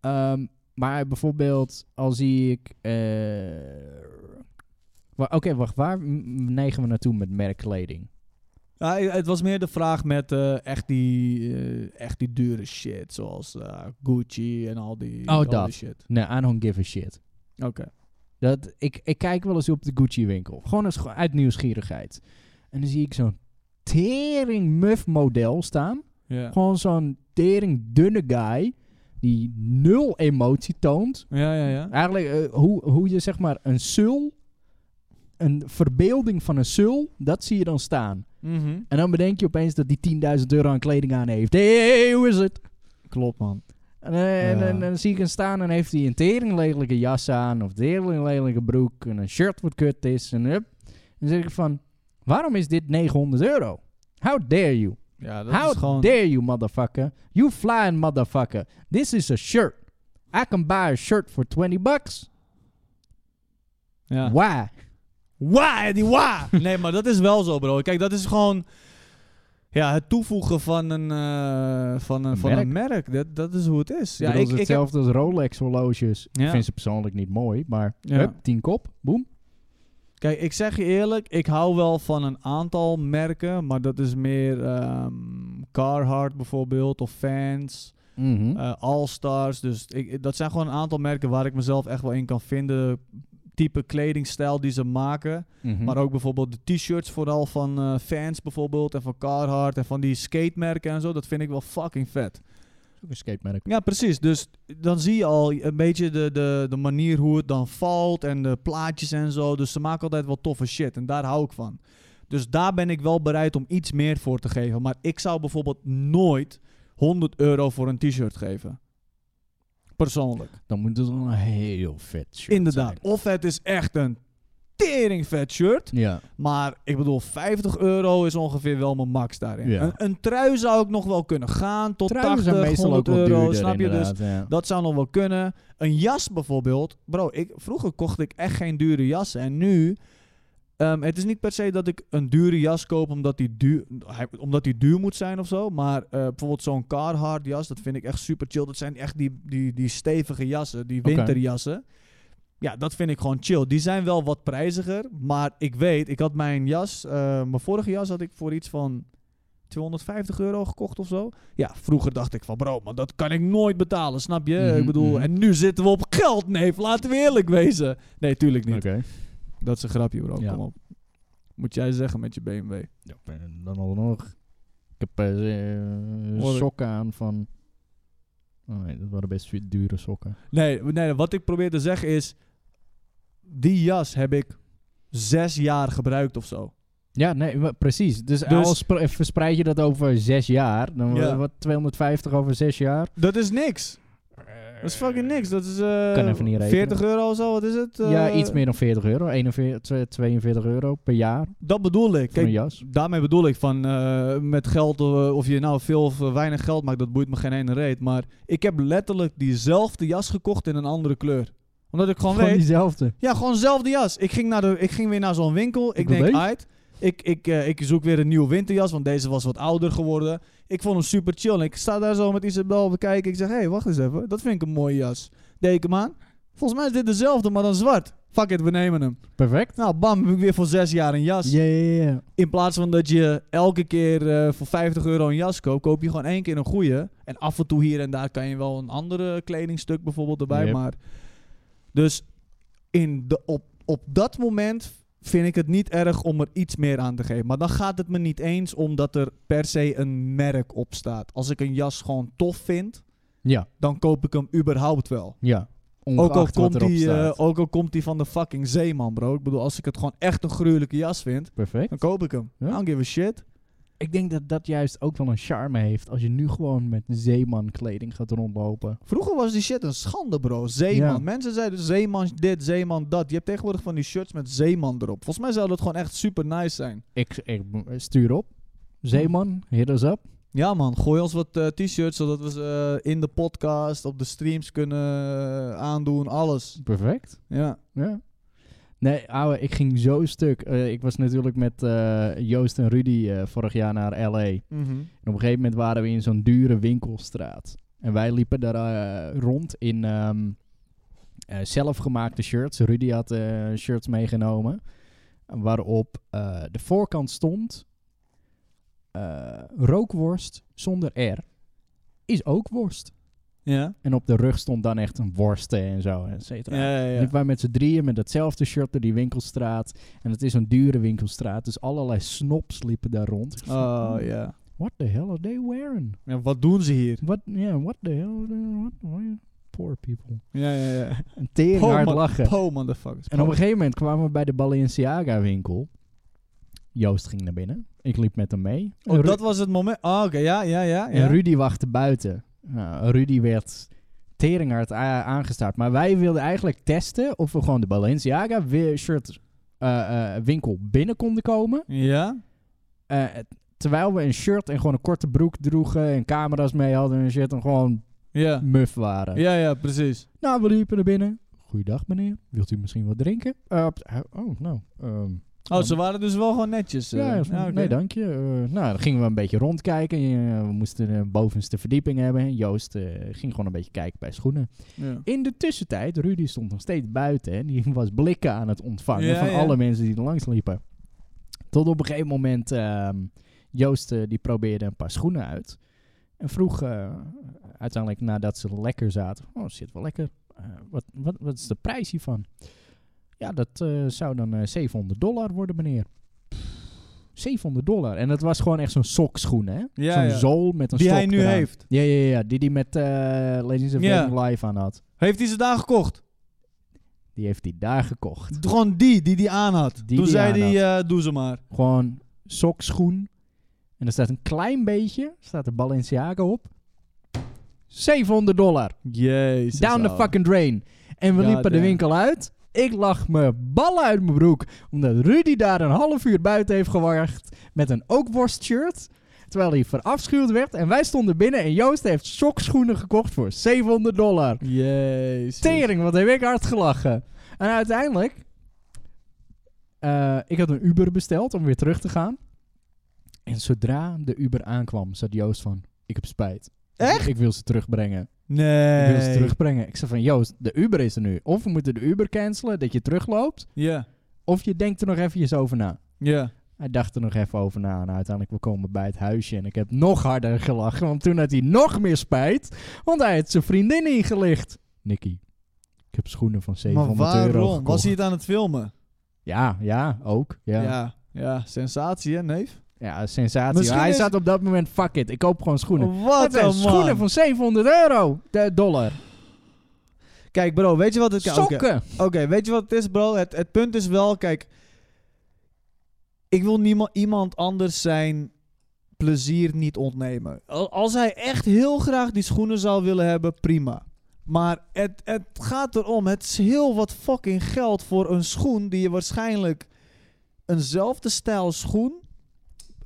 A: Ehm, maar bijvoorbeeld, al zie ik... eh, wa- Oké, wacht, waar m- m- neigen we naartoe met merkkleding?
B: Ja, i- het was meer de vraag met eh, echt, die, eh, echt die dure shit. Zoals eh, Gucci en al die,
A: Oh,
B: al
A: dat.
B: die shit.
A: Nee, I don't give a shit.
B: Oké.
A: Dat, ik, ik kijk wel eens op de Gucci-winkel. Gewoon eens, ge- uit nieuwsgierigheid. En dan zie ik zo'n tering muf model staan.
B: Ja.
A: Gewoon zo'n tering dunne guy. Die nul emotie toont.
B: Ja, ja, ja.
A: Eigenlijk eh, hoe, hoe je zeg maar een sul. Een verbeelding van een sul. Dat zie je dan staan.
B: Mhm.
A: En dan bedenk je opeens dat die 10.000 euro aan kleding aan heeft. Hé, hey, hoe is het?
B: Klopt, man.
A: En, eh, en,
B: Ja.
A: en dan zie ik hem staan en heeft hij een tering lelijke jas aan. Of een tering lelijke broek. En een shirt wat kut is. En hup. Dan zeg ik van, waarom is dit 900 euro? How dare you?
B: Ja, dat
A: How
B: is gewoon...
A: dare you, motherfucker? You flying motherfucker. This is a shirt. I can buy a shirt for 20 bucks.
B: Ja.
A: Why?
B: [laughs] Wa, die wa. nee, maar dat is wel zo, bro. Kijk, dat is gewoon... Ja, het toevoegen van een, eh, van een, van
A: Merk.
B: een merk. Dat, dat is hoe het is.
A: Ja,
B: Ja,
A: dat
B: ik,
A: is
B: ik heb...
A: hetzelfde als Rolex horloges. Ik
B: Ja.
A: vind ze persoonlijk niet mooi, maar
B: Ja.
A: hup, 10 kop, boem.
B: Kijk, ik zeg je eerlijk. Ik hou wel van een aantal merken. Maar dat is meer ehm, Carhartt bijvoorbeeld. Of Vans.
A: Mhm.
B: eh All Stars. Dus ik, dat zijn gewoon een aantal merken waar ik mezelf echt wel in kan vinden. Type kledingstijl die ze maken.
A: Mhm.
B: Maar ook bijvoorbeeld de t-shirts vooral van eh, fans bijvoorbeeld. En van Carhartt en van die skatemerken en zo. Dat vind ik wel fucking vet.
A: Ook een skatemerk.
B: Ja, precies. Dus dan zie je al een beetje de, de, de manier hoe het dan valt. En de plaatjes en zo. Dus ze maken altijd wel toffe shit. En daar hou ik van. Dus daar ben ik wel bereid om iets meer voor te geven. Maar ik zou bijvoorbeeld nooit 100 euro voor een t-shirt geven. Persoonlijk.
A: Dan moet het wel een heel vet shirt
B: Inderdaad. Of het is echt een tering vet shirt.
A: zijn. Ja.
B: Maar ik bedoel, 50 euro is ongeveer wel mijn max daarin.
A: Ja.
B: Een, een trui zou ik nog wel kunnen gaan tot
A: Trouwens
B: 80,
A: zijn meestal ook
B: 100
A: wel
B: euro,
A: duurder,
B: snap je? Dus
A: inderdaad, ja.
B: dat zou nog wel kunnen. Een jas bijvoorbeeld. Bro, ik, vroeger kocht ik echt geen dure jassen. En nu, ehm, het is niet per se dat ik een dure jas koop omdat die duur, hij- omdat die duur moet zijn of zo. Maar eh, bijvoorbeeld zo'n Carhartt jas, dat vind ik echt super chill. Dat zijn echt die, die, die stevige jassen, die
A: Oké.
B: winterjassen. Ja, dat vind ik gewoon chill. Die zijn wel wat prijziger, maar ik weet, ik had mijn jas, eh, mijn vorige jas had ik voor iets van 250 euro gekocht of zo. Ja, vroeger dacht ik van bro, maar dat kan ik nooit betalen, snap je?
A: Mhm,
B: ik bedoel,
A: mhm.
B: en nu zitten we op geld, neef, laten we eerlijk wezen. Nee, tuurlijk niet.
A: Oké.
B: Dat is een grapje bro,
A: Ja.
B: kom op. Moet jij zeggen met je BMW.
A: Ja, en dan alsnog. Ik heb eh,
B: Hoor ik.
A: sokken aan van... Oh nee, dat waren best du- dure sokken.
B: Nee, nee, wat ik probeer te zeggen is, die jas heb ik zes jaar gebruikt of zo.
A: Ja, nee, maar precies. Dus,
B: Dus-
A: al spre- verspreid je dat over zes jaar, dan
B: Ja.
A: wordt wat 250 over zes jaar.
B: Dat is niks. Dat is fucking niks. Dat is eh,
A: Kan even niet rekenen.
B: 40 euro of zo, wat is het?
A: ja,
B: Eh,
A: iets meer dan 40 euro, 41, twee- 42 euro per jaar
B: Dat bedoel ik.
A: voor een
B: Kijk,
A: jas.
B: daarmee bedoel ik van eh, met geld, eh, of je nou veel of eh, weinig geld maakt, dat boeit me geen ene reet. Maar ik heb letterlijk diezelfde jas gekocht in een andere kleur. Omdat ik gewoon
A: Van
B: weet,
A: diezelfde.
B: ja, gewoon dezelfde jas. Ik ging, naar de, ik ging weer naar zo'n winkel. Ik
A: wil
B: denk,
A: deze.
B: uit. Ik, ik, eh, ik zoek weer een nieuwe winterjas, want deze was wat ouder geworden. Ik vond hem super chill. En ik sta daar zo met Isabel bekijken. Ik zeg, hé, hey, wacht eens even. Dat vind ik een mooie jas. Deed ik hem aan. Volgens mij is dit dezelfde, maar dan zwart. Fuck it, we nemen hem.
A: Perfect.
B: Nou, bam, heb ik weer voor zes jaar een jas.
A: Ja, ja, ja.
B: In plaats van dat je elke keer eh, voor 50 euro een jas koopt, koop je gewoon één keer een goede. En af en toe hier en daar kan je wel een andere kledingstuk bijvoorbeeld erbij.
A: Yep.
B: Maar dus in de, op, op dat moment vind ik het niet erg om er iets meer aan te geven. Maar dan gaat het me niet eens omdat er per se een merk op staat. Als ik een jas gewoon tof vind,
A: Ja,
B: dan koop ik hem überhaupt wel.
A: ja.
B: Ook al,
A: Ongeacht wat
B: komt
A: erop
B: die, eh,
A: staat.
B: ook al komt die van de fucking zeeman, bro. Ik bedoel, als ik het gewoon echt een gruwelijke jas vind,
A: Perfect.
B: dan koop ik hem.
A: Ja.
B: I don't give a shit.
A: Ik denk dat dat juist ook wel een charme heeft als je nu gewoon met zeemankleding gaat rondlopen.
B: Vroeger was die shit een schande, bro. Zeeman.
A: Ja.
B: Mensen zeiden zeeman dit, zeeman dat. Je hebt tegenwoordig van die shirts met zeeman erop. Volgens mij zou dat gewoon echt super nice zijn.
A: Ik, ik stuur op. Zeeman, hit us up.
B: Ja, man. Gooi ons wat eh, t-shirts, zodat we ze eh, in de podcast, op de streams kunnen eh, aandoen. Alles.
A: Perfect.
B: Ja.
A: Ja. Nee, ouwe, ik ging zo stuk. Eh, ik was natuurlijk met eh, Joost en Rudy eh, vorig jaar naar L.A. En
B: Mhm.
A: op een gegeven moment waren we in zo'n dure winkelstraat. En wij liepen daar eh, rond in ehm, eh, zelfgemaakte shirts. Rudy had eh, shirts meegenomen. Waarop eh, de voorkant stond... eh, rookworst zonder R is ook worst.
B: Ja.
A: En op de rug stond dan echt een worsten en zo, et cetera.
B: Ja, ja, ja.
A: Liepen wij met z'n drieën met datzelfde shirt door die winkelstraat. En het is een dure winkelstraat, dus allerlei snobs liepen daar rond. Ik vond,
B: Oh, [laughs]
A: hmm,
B: ja.
A: What the hell are they wearing?
B: ja. Wat doen ze hier?
A: What, yeah, what the hell? are they- What, why- poor people.
B: Ja, ja, ja.
A: En tering hard
B: man- [laughs]
A: lachen.
B: Po, motherfuckers.
A: En op een
B: Po.
A: gegeven moment kwamen we bij de Balenciaga winkel. Joost ging naar binnen. Ik liep met hem mee. En
B: Oh,
A: Ru-
B: dat was het moment. Ah, oké. Ja, ja, ja. ja.
A: En Rudy wachtte buiten. Nou, Rudy werd teringhard a- aangestaard. Maar wij wilden eigenlijk testen of we gewoon de Balenciaga wi- shirt eh, eh, winkel binnen konden komen.
B: Ja.
A: Eh, terwijl we een shirt en gewoon een korte broek droegen en camera's mee hadden en shit. En gewoon
B: Ja.
A: muf waren.
B: Ja, ja, precies.
A: Nou, we liepen naar binnen. Goeiedag meneer, wilt u misschien wat drinken? Eh, p- oh, nou. ehm,
B: Oh, ze waren dus wel gewoon netjes. eh.
A: ja, ja, van,
B: oké.
A: nee, dank je. Eh, nou, dan gingen we een beetje rondkijken. Eh, we moesten een bovenste verdieping hebben. Joost eh, ging gewoon een beetje kijken bij schoenen.
B: Ja.
A: In de tussentijd, Rudy stond nog steeds buiten. En die was blikken aan het ontvangen
B: Ja,
A: van
B: ja.
A: alle mensen die er langs liepen. Tot op een gegeven moment, ehm, Joost eh, die probeerde een paar schoenen uit. En vroeg eh, uiteindelijk nadat ze lekker zaten. Oh, zit wel lekker. Eh, wat, wat, wat is de prijs hiervan? Ja, dat eh, zou dan eh, 700 dollar worden, meneer. 700 dollar. En dat was gewoon echt zo'n sokschoen, hè?
B: Ja,
A: zo'n
B: ja.
A: zool met een
B: Die hij
A: stok
B: nu
A: eraan.
B: heeft.
A: Ja, ja, ja. Die die met eh Ladies of
B: Ja.
A: Living Live aan had.
B: Heeft hij ze daar gekocht?
A: Die heeft hij daar gekocht.
B: Gewoon die, die die aan had. Toen
A: Die die
B: zei
A: aan
B: hij, eh, doe ze maar.
A: Gewoon sokschoen. En er staat een klein beetje, staat de Balenciaga op. 700 dollar.
B: Jezus.
A: Down the
B: ouwe.
A: fucking drain. En we
B: Ja,
A: liepen de
B: damn.
A: winkel uit. Ik lag mijn ballen uit mijn broek. Omdat Rudy daar een half uur buiten heeft gewacht. Met een ook worstshirt. Terwijl hij verafschuwd werd. En wij stonden binnen. En Joost heeft sokschoenen gekocht voor 700 dollar.
B: Jezus.
A: Tering, wat heb ik hard gelachen. En uiteindelijk... eh, ik had een Uber besteld om weer terug te gaan. En zodra de Uber aankwam, zat Joost van... Ik heb spijt.
B: Echt?
A: Ik wil ze terugbrengen. Ik wil ze
B: Nee.
A: terugbrengen. Ik zei van, Joost, de Uber is er nu. Of we moeten de Uber cancelen, dat je terugloopt.
B: Ja.
A: Of je denkt er nog eventjes over na.
B: Ja.
A: Hij dacht er nog even over na. En uiteindelijk, we komen bij het huisje. En ik heb nog harder gelachen. Want toen had hij nog meer spijt. Want hij had zijn vriendin ingelicht. Nicky, ik heb schoenen van
B: Maar
A: 700 euro
B: waarom?
A: gekocht.
B: Was hij het aan het filmen?
A: Ja, ja, ook. Ja,
B: Ja.
A: ja.
B: Ja, sensatie hè, neef?
A: sensatie.
B: Misschien
A: hij
B: is- Oh,
A: zat op dat moment, fuck it, ik koop gewoon schoenen.
B: Wat
A: Het zijn
B: een man.
A: schoenen van 700 euro. De dollar.
B: Kijk bro, weet je wat het... oké.
A: Sokken.
B: Oké, weet je wat het is, bro? Het, het punt is wel, kijk. Ik wil niemand, iemand anders zijn plezier niet ontnemen. Al- Als hij echt heel graag die schoenen zou willen hebben, prima. Maar het, het gaat erom, het is heel wat fucking geld voor een schoen die je waarschijnlijk eenzelfde stijl schoen.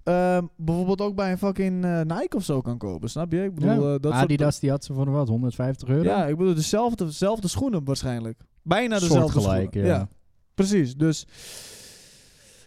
B: ehm, bijvoorbeeld ook bij een fucking eh, Nike of zo kan kopen, snap je? Ik bedoel, eh,
A: Ja.
B: dat soort-
A: Adidas, die had ze voor wat, 150 euro?
B: ja, ik bedoel, dezelfde, dezelfde schoenen waarschijnlijk. Bijna dezelfde
A: Soortgelijk,
B: schoenen.
A: ja.
B: precies. Dus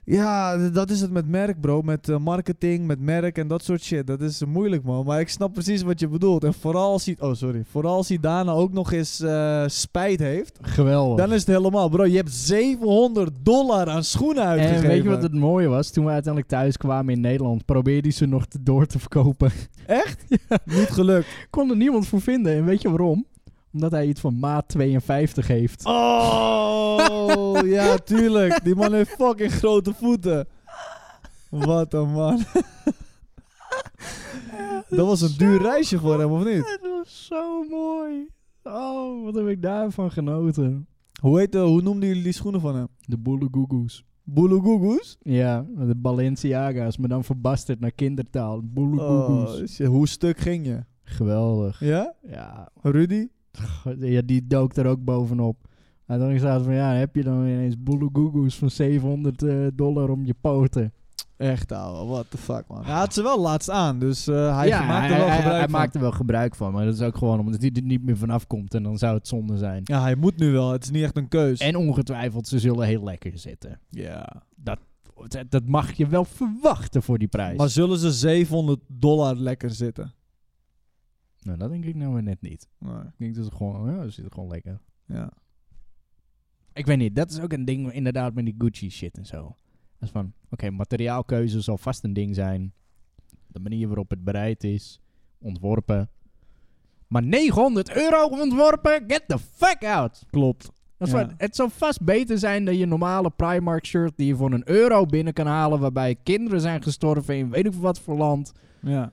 B: ja, d- dat is het met merk, bro. Met eh, marketing, met merk en dat soort shit. Dat is eh, moeilijk, man. Maar ik snap precies wat je bedoelt. En vooral ziet, oh sorry, vooral als hij daarna ook nog eens eh, spijt heeft,
A: Oh. Geweldig.
B: dan is het helemaal, bro. Je hebt 700 dollar aan schoenen uitgegeven.
A: En weet je wat het mooie was? Toen we uiteindelijk thuis kwamen in Nederland, probeerde hij ze nog te- door te verkopen. [laughs]
B: niet gelukt?
A: Kon er niemand voor vinden. En weet je waarom? Omdat hij iets van maat 52 heeft.
B: [laughs] Oh, ja, tuurlijk. Die man heeft fucking grote voeten. Wat een man.
A: [laughs]
B: Dat was een duur reisje voor hem, of niet?
A: Oh, Dat was zo mooi. Oh, wat heb ik daarvan genoten.
B: Hoe, heet, eh, hoe noemden jullie die schoenen van hem?
A: De boele goegoes.
B: Boeloegoegoes?
A: Ja, de Balenciaga's, maar dan verbasterd naar kindertaal. Boeloekoekoes.
B: Oh, shit, hoe stuk ging je?
A: Geweldig.
B: Ja?
A: Ja,
B: Rudy?
A: ja, die dook er ook bovenop. En dan staat van, ja, heb je dan ineens boeloegoegoes van 700 eh, dollar om je poten.
B: Echt ouwe, what the fuck man. Hij had ze wel laatst aan, dus eh, hij
A: ja,
B: maakte wel
A: hij,
B: gebruik
A: hij
B: van.
A: maakt er wel gebruik van, maar dat is ook gewoon omdat hij er niet meer vanaf komt. En dan zou het zonde zijn.
B: Ja, hij moet nu wel. Het is niet echt een keus.
A: En ongetwijfeld, ze zullen heel lekker zitten.
B: dus- Ja.
A: Dat, dat mag je wel verwachten voor die prijs.
B: Maar zullen ze 700 dollar lekker zitten?
A: Nou, dat denk ik nou weer net niet.
B: Nee.
A: Ik denk dat ze gewoon, ja, ze zitten gewoon lekker.
B: Ja.
A: Ik weet niet, dat is ook een ding inderdaad met die Gucci shit en zo. Dat is van, oké, materiaalkeuze zal vast een ding zijn. De manier waarop het bereid is, ontworpen. Maar 900 euro ontworpen, get the fuck out!
B: Klopt.
A: Dat is
B: Ja.
A: wat- het zal vast beter zijn dan je normale Primark shirt die je voor een euro binnen kan halen, waarbij kinderen zijn gestorven in weet ik wat voor land.
B: Ja.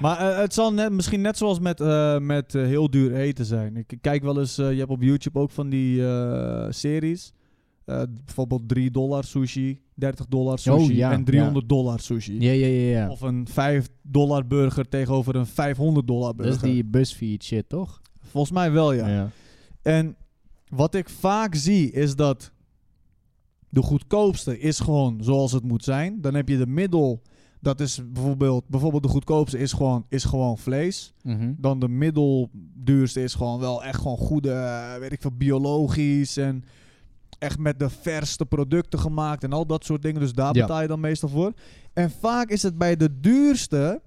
B: Maar eh, het zal net, misschien net zoals met, eh, met eh, heel duur eten zijn. Ik kijk wel eens, eh, je hebt op YouTube ook van die eh, series. Eh, bijvoorbeeld 3 dollar sushi, 30 dollar sushi
A: Oh, ja,
B: en 300 dollar sushi.
A: Ja, ja, ja, ja.
B: Of een 5 dollar burger tegenover een 500 dollar
A: Dat
B: burger.
A: is die busfeed shit, toch?
B: Volgens mij wel, ja. En wat ik vaak zie is dat de goedkoopste is gewoon zoals het moet zijn. Dan heb je de middel, dat is bijvoorbeeld, bijvoorbeeld de goedkoopste is gewoon, is gewoon vlees.
A: Mhm.
B: Dan de middelduurste is gewoon wel echt gewoon goede, eh, weet ik veel, biologisch en echt met de verste producten gemaakt en al dat soort dingen. Dus daar
A: Ja.
B: betaal je dan meestal voor. En vaak is het bij de duurste,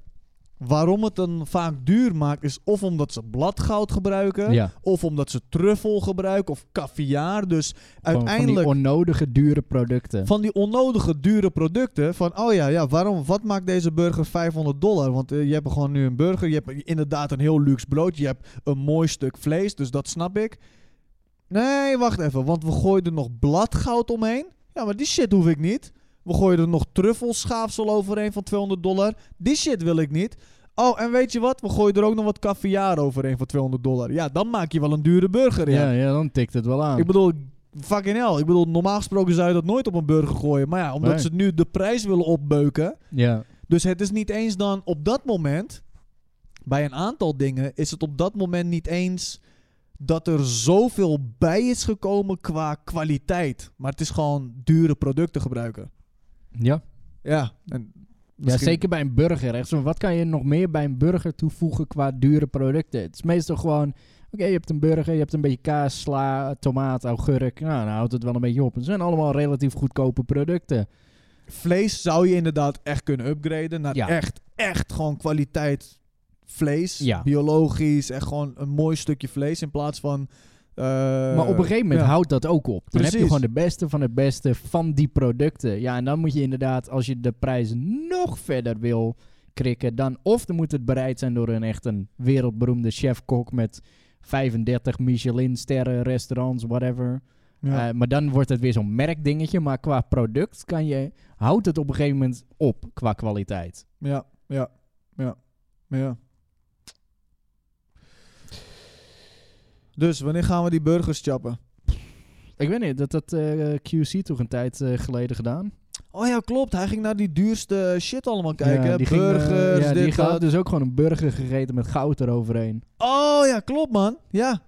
B: waarom het dan vaak duur maakt, is of omdat ze bladgoud gebruiken.
A: Ja.
B: Of omdat ze truffel gebruiken of caviar. Dus uiteindelijk
A: Van
B: van
A: die onnodige dure producten.
B: die, onnodige dure producten. Van oh ja, ja waarom, wat maakt deze burger 500 dollar? Want eh, je hebt gewoon nu een burger. Je hebt inderdaad een heel luxe brood. Je hebt een mooi stuk vlees. Dus dat snap ik. Nee, wacht even. Want we gooien er nog bladgoud omheen. Ja, maar die shit hoef ik niet. We gooien er nog truffelschaafsel overheen van 200 dollar. Die shit wil ik niet. Oh, en weet je wat? We gooien er ook nog wat caviar overheen van 200 dollar. Ja, dan maak je wel een dure burger. Ja.
A: ja. ja, dan tikt het wel aan.
B: Ik bedoel, fucking hell. Ik bedoel, normaal gesproken zou je dat nooit op een burger gooien. Maar ja, omdat
A: Nee.
B: ze nu de prijs willen opbeuken.
A: ja.
B: Dus het is niet eens dan op dat moment. Bij een aantal dingen is het op dat moment niet eens dat er zoveel bij is gekomen qua kwaliteit. Maar het is gewoon dure producten gebruiken.
A: Ja.
B: Ja, en
A: ja,
B: misschien-
A: zeker bij een burger. Echt zo, wat kan je nog meer bij een burger toevoegen qua dure producten? Het is meestal gewoon, oké, je hebt een burger, je hebt een beetje kaas, sla, tomaat, augurk. Nou, dan houdt het wel een beetje op. Het zijn allemaal relatief goedkope producten.
B: Vlees zou je inderdaad echt kunnen upgraden naar
A: Ja.
B: echt, echt gewoon kwaliteit vlees.
A: Ja.
B: Biologisch, echt gewoon een mooi stukje vlees in plaats van... eh,
A: maar op een gegeven moment
B: ja.
A: houdt dat ook op. Dan heb je
B: Precies.
A: gewoon de beste van het beste van die producten. Ja, en dan moet je inderdaad, als je de prijs nog verder wil krikken, dan of dan moet het bereid zijn door een echt een wereldberoemde chef-kok met 35 Michelin-sterren, restaurants, whatever.
B: Ja.
A: Eh, maar dan wordt het weer zo'n merkdingetje. Maar qua product kan je, houdt het op een gegeven moment op qua kwaliteit.
B: ja, ja, ja, ja. Dus, wanneer gaan we die burgers chappen?
A: Ik weet niet, dat had eh, QC toch een tijd eh, geleden gedaan.
B: Oh ja, klopt. Hij ging naar die duurste shit allemaal kijken.
A: Ja,
B: hè.
A: die ging, eh,
B: Burgers,
A: ja, die
B: dit,
A: had
B: dat.
A: dus ook gewoon een burger gegeten met goud eroverheen.
B: Oh ja, klopt man. Ja.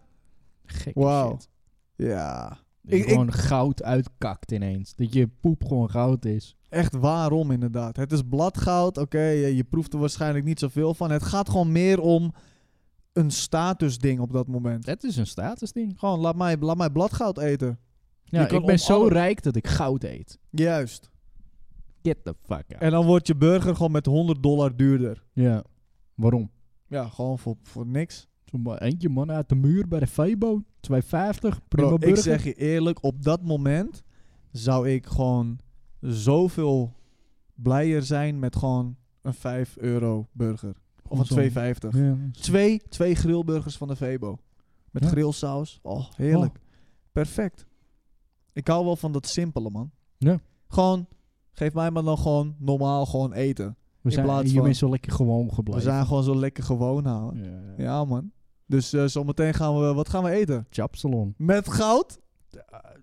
A: Gekke
B: Wauw.
A: shit.
B: Ja.
A: Dat je
B: Ik- ik-
A: gewoon goud uitkakt ineens. Dat je poep gewoon goud is.
B: Echt waarom inderdaad. Het is bladgoud, oké, je, je proeft er waarschijnlijk niet zoveel van. Het gaat gewoon meer om een statusding op dat moment.
A: Dat is een statusding.
B: Gewoon, laat mij, laat mij bladgoud eten.
A: Ja,
B: Je kan
A: ik ben
B: om
A: zo
B: alle-
A: rijk dat ik goud eet.
B: Juist.
A: Get the fuck out.
B: En dan wordt je burger gewoon met 100 dollar duurder.
A: Ja. Waarom?
B: Ja, gewoon voor, voor niks.
A: Zo'n ma- eentje man uit de muur bij de Febo. 2,50. Prima
B: Bro, ik
A: burger.
B: zeg je eerlijk, op dat moment zou ik gewoon zoveel blijer zijn met gewoon een 5 euro burger. Of
A: Zo'n-
B: een 2,50.
A: Ja.
B: Twee, twee grillburgers van de Febo. Met
A: Ja.
B: grillsaus. Oh, heerlijk. Perfect. Ik hou wel van dat simpele, man.
A: Ja.
B: Gewoon, geef mij maar dan gewoon normaal gewoon eten.
A: We
B: In
A: zijn
B: plaats
A: hiermee
B: van-
A: zo lekker gewoon
B: We
A: gebleven.
B: zijn gewoon zo lekker gewoon houden.
A: Ja,
B: Ja, man. Dus eh, zometeen gaan we, wat gaan we eten?
A: Chapsalon.
B: Met goud?
A: Eh,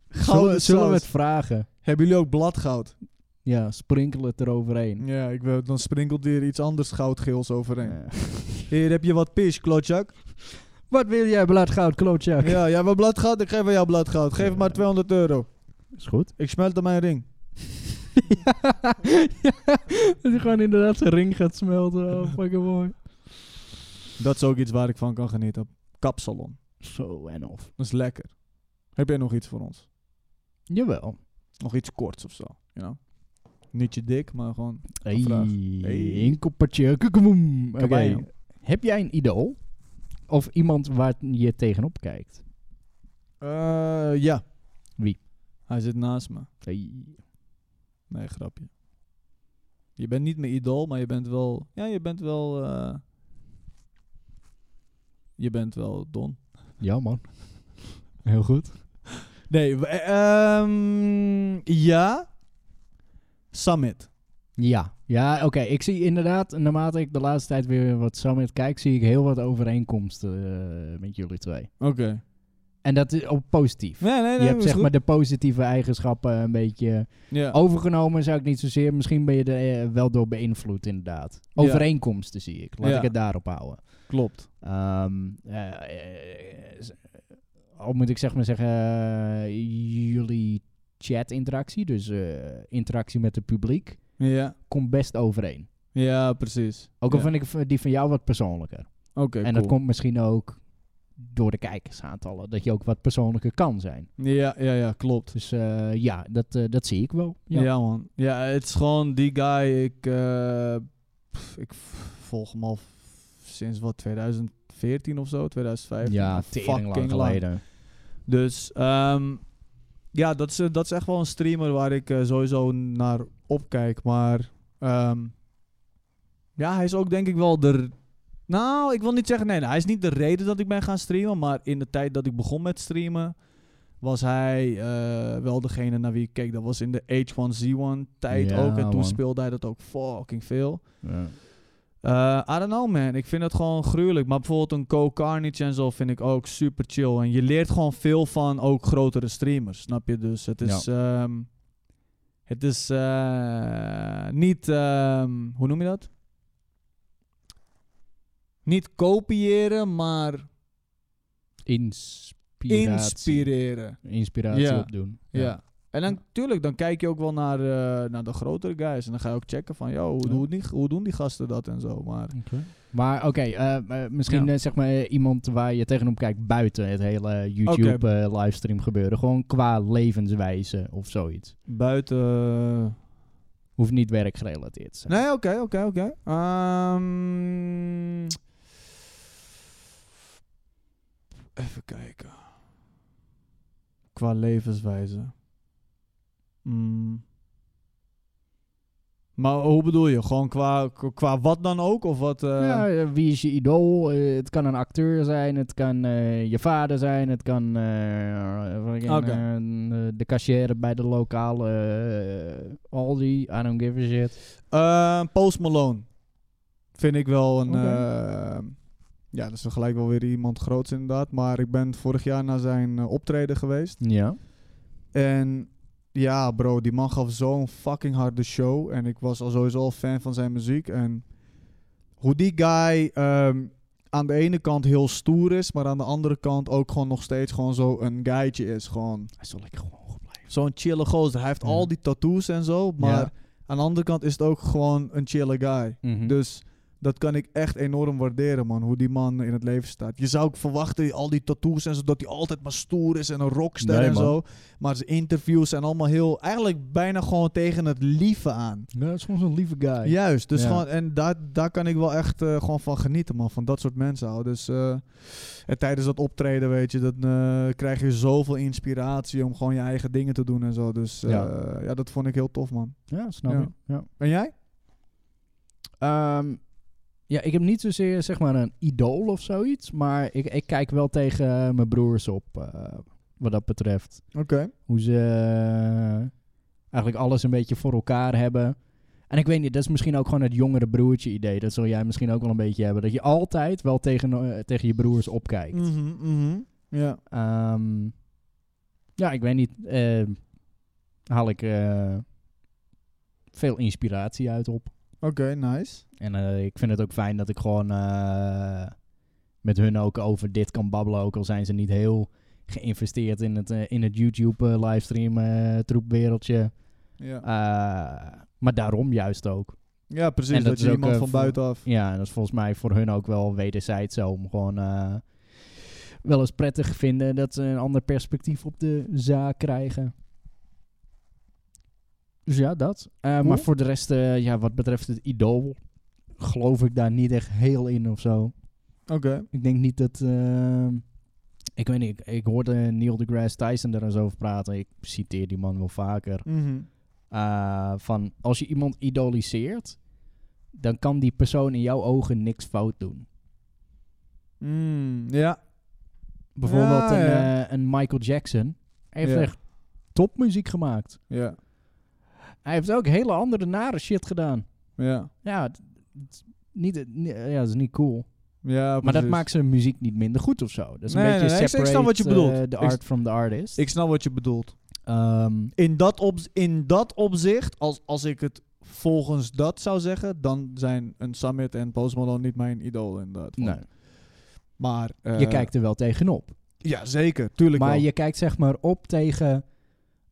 A: Zullen,
B: gouden
A: zullen we
B: saus.
A: het vragen?
B: Hebben jullie ook bladgoud?
A: Ja, sprinkel het eroverheen.
B: Ja, ik wil, dan sprinkelt hier iets anders goudgeels overheen.
A: Ja.
B: Hier heb je wat pis, klotjak.
A: Wat wil jij, bladgoud, klootzak?
B: Ja, jij wil bladgoud, ik geef aan jou bladgoud. Geef
A: Ja.
B: maar 200 euro.
A: Is goed.
B: Ik smelt aan mijn ring.
A: [laughs] ja, [laughs] dat hij gewoon inderdaad zijn ring gaat smelten. [laughs] Oh, fucking mooi.
B: Dat is ook iets waar ik van kan genieten. Kapsalon.
A: Zo en of.
B: Dat is lekker. Heb jij nog iets voor ons?
A: Jawel.
B: Nog iets korts of zo, you know? Niet je dik, maar gewoon...
A: Hey,
B: vraag. Hey.
A: een koppertje. kukemoem. Oké.
B: Kabam.
A: Heb jij een idool? Of iemand waar je tegenop kijkt?
B: Eh, ja.
A: Wie?
B: Hij zit naast me.
A: Hey.
B: Nee, grapje. Je bent niet mijn idool, maar je bent wel... Ja, je bent wel... eh, je bent wel Don.
A: Ja, man. Heel goed.
B: Nee, w- eh, ehm, ja. Summit.
A: Ja, ja oké. Ik zie inderdaad, naarmate ik de laatste tijd weer wat Summit kijk, zie ik heel wat overeenkomsten eh, met jullie twee.
B: Oké.
A: En dat is ook positief.
B: Nee, nee, nee.
A: je hebt
B: is
A: zeg
B: goed.
A: maar de positieve eigenschappen een beetje
B: Ja.
A: overgenomen, zou ik niet zozeer. Misschien ben je er eh, wel door beïnvloed, inderdaad.
B: Ja.
A: Overeenkomsten zie ik. Laat
B: Ja.
A: ik het daarop houden.
B: Klopt.
A: Ehm, eh, eh, eh, al moet ik zeg maar zeggen, eh, jullie chat-interactie, dus eh, interactie met het publiek,
B: Ja.
A: komt best overeen.
B: Ja, precies.
A: Ook
B: ja.
A: al vind ik v- die van jou wat persoonlijker.
B: Oké,
A: en dat
B: cool.
A: komt misschien ook door de kijkersaantallen, dat je ook wat persoonlijker kan zijn.
B: Ja, ja, ja, klopt.
A: Dus eh, ja, dat, eh, dat zie ik wel.
B: Ja.
A: Ja.
B: man. Ja, het is gewoon die guy. Ik, eh, pff, ik v- volg hem al f- sinds wat, 2014 of zo, 2015.
A: Ja,
B: Al
A: tering lang
B: fucking
A: geleden.
B: Dus ehm, ja, dat is, eh, dat is echt wel een streamer waar ik eh, sowieso naar opkijk. Maar ehm, ja, hij is ook denk ik wel de... Nou, ik wil niet zeggen, nee, nee, hij is niet de reden dat ik ben gaan streamen. Maar in de tijd dat ik begon met streamen, was hij eh, wel degene naar wie ik keek. Dat was in de H1Z1 tijd
A: Ja,
B: ook. En toen
A: man.
B: speelde hij dat ook fucking veel.
A: Ja.
B: Eh, I don't know, man. Ik vind het gewoon gruwelijk. Maar bijvoorbeeld een Co Carnage en zo vind ik ook super chill. En je leert gewoon veel van ook grotere streamers, snap je? Dus het is... ehm, het is eh, niet... ehm, hoe noem je dat? Niet kopiëren, maar
A: Inspiratie.
B: inspireren.
A: Inspiratie
B: Ja.
A: opdoen.
B: Ja. En dan, tuurlijk, dan kijk je ook wel naar, eh, naar de grotere guys. En dan ga je ook checken van, yo, hoe,
A: Ja.
B: doen die, hoe doen die gasten dat en zo. Maar
A: Maar oké, eh, eh, misschien
B: Ja.
A: eh, zeg maar eh, iemand waar je tegenop kijkt buiten het hele YouTube eh, livestream gebeuren. Gewoon qua levenswijze of zoiets.
B: buiten...
A: Hoeft niet werkgerelateerd te zijn.
B: Nee, oké, oké, oké. Ehm, even kijken. Qua levenswijze. Mm. Maar hoe bedoel je? Gewoon qua, qua wat dan ook? Of wat? eh?
A: Ja, eh, wie is je idool? Eh, het kan een acteur zijn, het kan eh, je vader zijn, het kan eh, fucking,
B: Oké.
A: eh, de cashier bij de lokale eh, Aldi. I don't give a shit.
B: Eh, Post Malone. Vind ik wel een...
A: Oké.
B: eh, ja, dat is dan gelijk wel weer iemand groots inderdaad. Maar ik ben vorig jaar naar zijn eh, optreden geweest.
A: Ja.
B: En ja, bro, die man gaf zo'n fucking harde show. En ik was al sowieso al fan van zijn muziek. En hoe die guy ehm, aan de ene kant heel stoer is, maar aan de andere kant ook gewoon nog steeds gewoon zo een guytje is. Gewoon
A: Hij zal lekker gewoon blijven.
B: zo'n chille gozer. Hij heeft
A: Ja.
B: al die tattoos en zo, maar
A: Ja.
B: aan de andere kant is het ook gewoon een chille guy.
A: Mhm.
B: Dus dat kan ik echt enorm waarderen, man. Hoe die man in het leven staat. Je zou ook verwachten, al die tattoos en zo, dat hij altijd maar stoer is en een rockster
A: Nee,
B: en
A: man.
B: zo. Maar zijn interviews zijn allemaal heel, eigenlijk bijna gewoon tegen het lieve aan.
A: Ja, Nou, het is gewoon zo'n lieve guy.
B: Juist, dus
A: Ja.
B: gewoon, en daar, daar kan ik wel echt eh, gewoon van genieten, man. Van dat soort mensen houden. Dus eh, en tijdens dat optreden, weet je, dan eh, krijg je zoveel inspiratie om gewoon je eigen dingen te doen en zo. Dus eh,
A: Ja.
B: ja, dat vond ik heel tof, man.
A: Ja, snap
B: Ja.
A: ik. Ja.
B: En jij?
A: Ehm, ja, ik heb niet zozeer zeg maar een idool of zoiets, maar ik, ik kijk wel tegen eh, mijn broers op eh, wat dat betreft.
B: Oké.
A: Hoe ze eh, eigenlijk alles een beetje voor elkaar hebben. En ik weet niet, dat is misschien ook gewoon het jongere broertje idee. Dat zul jij misschien ook wel een beetje hebben. Dat je altijd Mhm. wel tegen, eh, tegen je broers opkijkt.
B: Mhm, mhm. Ja.
A: Ehm, Ja, ik weet niet. eh, haal ik eh, veel inspiratie uit op.
B: Oké, nice.
A: En eh, ik vind het ook fijn dat ik gewoon eh, met hun ook over dit kan babbelen. Ook al zijn ze niet heel geïnvesteerd in het, eh, in het YouTube eh, livestream eh, troepwereldje.
B: Ja,
A: Eh, maar daarom juist ook.
B: ja precies.
A: en
B: Dat,
A: dat
B: je
A: is ook,
B: iemand
A: eh,
B: van
A: voor-
B: buitenaf...
A: Ja, en dat is volgens mij voor hun ook wel wederzijds zo. Om gewoon eh, wel eens prettig vinden dat ze een ander perspectief op de zaak krijgen. Dus ja, dat. Eh, Maar voor de rest, eh, ja, wat betreft het idool, geloof ik daar niet echt heel in of zo.
B: Oké.
A: Ik denk niet dat. ehm, ik weet niet, ik, ik hoorde Neil deGrasse Tyson daar eens over praten. Ik citeer die man wel vaker.
B: Mhm.
A: Eh, van als je iemand idoliseert, dan kan die persoon in jouw ogen niks fout doen.
B: Mm, ja.
A: Bijvoorbeeld
B: Ja,
A: een,
B: ja.
A: eh, een Michael Jackson. Hij heeft
B: Ja.
A: echt topmuziek gemaakt.
B: Ja.
A: Hij heeft ook hele andere nare shit gedaan.
B: Ja.
A: Ja, het- het- niet, het- ni- ja dat is niet cool.
B: Ja,
A: Maar dat
B: precies.
A: maakt zijn muziek niet minder goed of zo. Dat is
B: Nee,
A: een beetje
B: nee, nee, ik- ik snap
A: separate
B: wat je bedoelt.
A: eh, the
B: Ik-
A: art from the artist.
B: Ik snap wat je bedoelt.
A: Ehm,
B: In dat, op, in dat opzicht, als, als ik het volgens dat zou zeggen, dan zijn een Summit en Post Malone niet mijn idool inderdaad.
A: nee.
B: Maar... Oh, eh,
A: je kijkt er wel tegenop.
B: Ja, zeker. Tuurlijk
A: Maar
B: wel.
A: je kijkt zeg maar op tegen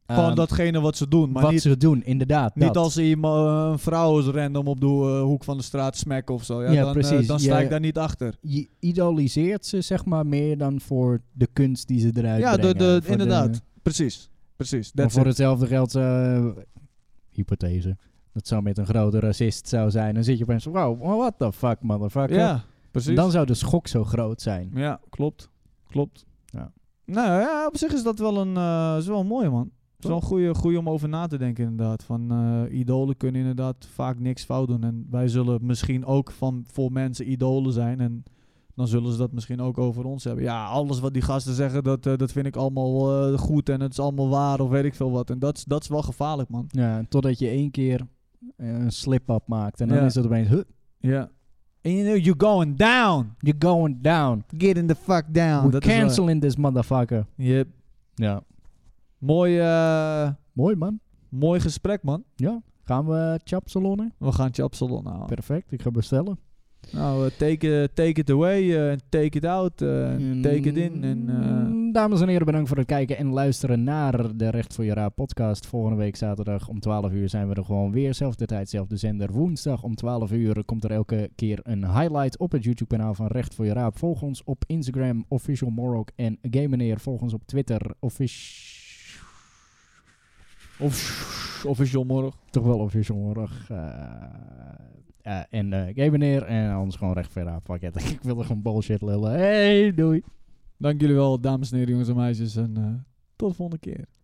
B: Van
A: ehm,
B: datgene wat ze doen. Maar
A: wat
B: niet,
A: ze doen, inderdaad.
B: niet
A: dat.
B: als ze iemand, een vrouw is random op de eh, hoek van de straat smacken of zo. Ja,
A: Ja,
B: dan, eh,
A: precies.
B: dan sta
A: Je-
B: ik daar niet achter.
A: Je idoliseert ze zeg maar meer dan voor de kunst die ze eruit
B: Ja, de,
A: brengen.
B: de,
A: Voor
B: inderdaad. Precies. Precies.
A: maar
B: That's
A: voor
B: it.
A: hetzelfde geld, eh, hypothese, dat zou met een grote racist zou zijn. Dan zit je opeens, wow, what the fuck, motherfucker.
B: Ja, precies.
A: dan zou de schok zo groot zijn.
B: Ja, klopt. Klopt.
A: Ja.
B: Nou ja, op zich is dat wel een, eh, is wel een mooie man. Het is wel een goede, goede om over na te denken inderdaad. Van eh, idolen kunnen inderdaad vaak niks fout doen. En wij zullen misschien ook van voor mensen idolen zijn. En dan zullen ze dat misschien ook over ons hebben. Ja, alles wat die gasten zeggen, dat, eh, dat vind ik allemaal eh, goed. En het is allemaal waar of weet ik veel wat. En dat, is- dat is wel gevaarlijk man.
A: Ja, en totdat je één keer eh, een slip-up maakt. En dan
B: Ja.
A: is het opeens, huh,
B: Ja. En you know, you're going down.
A: you're going down.
B: Getting the fuck down.
A: We're
B: Ah, Dat is wel-
A: canceling this motherfucker.
B: Yep.
A: Ja.
B: Mooi, eh,
A: Mooi man.
B: mooi gesprek man.
A: Ja, gaan we chapsalonnen?
B: We gaan je op salon halen.
A: Perfect, ik ga bestellen.
B: Nou, eh, take, eh, take it away, eh, en take it out, eh, en take it in. En, eh,
A: Mm, Dames en heren, bedankt voor het kijken en luisteren naar de Recht voor je Raad podcast. Volgende week zaterdag om 12 uur zijn we er gewoon weer. Zelfde tijd, zelfde zender. Woensdag om 12 uur komt er elke keer een highlight op het YouTube kanaal van Recht voor je Raad. Volg ons op Instagram, Official Morok en Game Meneer. Volg ons op Twitter, offic-
B: of, official morgen.
A: toch wel Official Morok. eh, eh, en eh Game Meneer en anders gewoon Recht voor je Raad pakket. [laughs] ik wil er gewoon bullshit lullen. Hey, doei!
B: Dank jullie wel, dames en heren, jongens en meisjes. En eh, tot de volgende keer.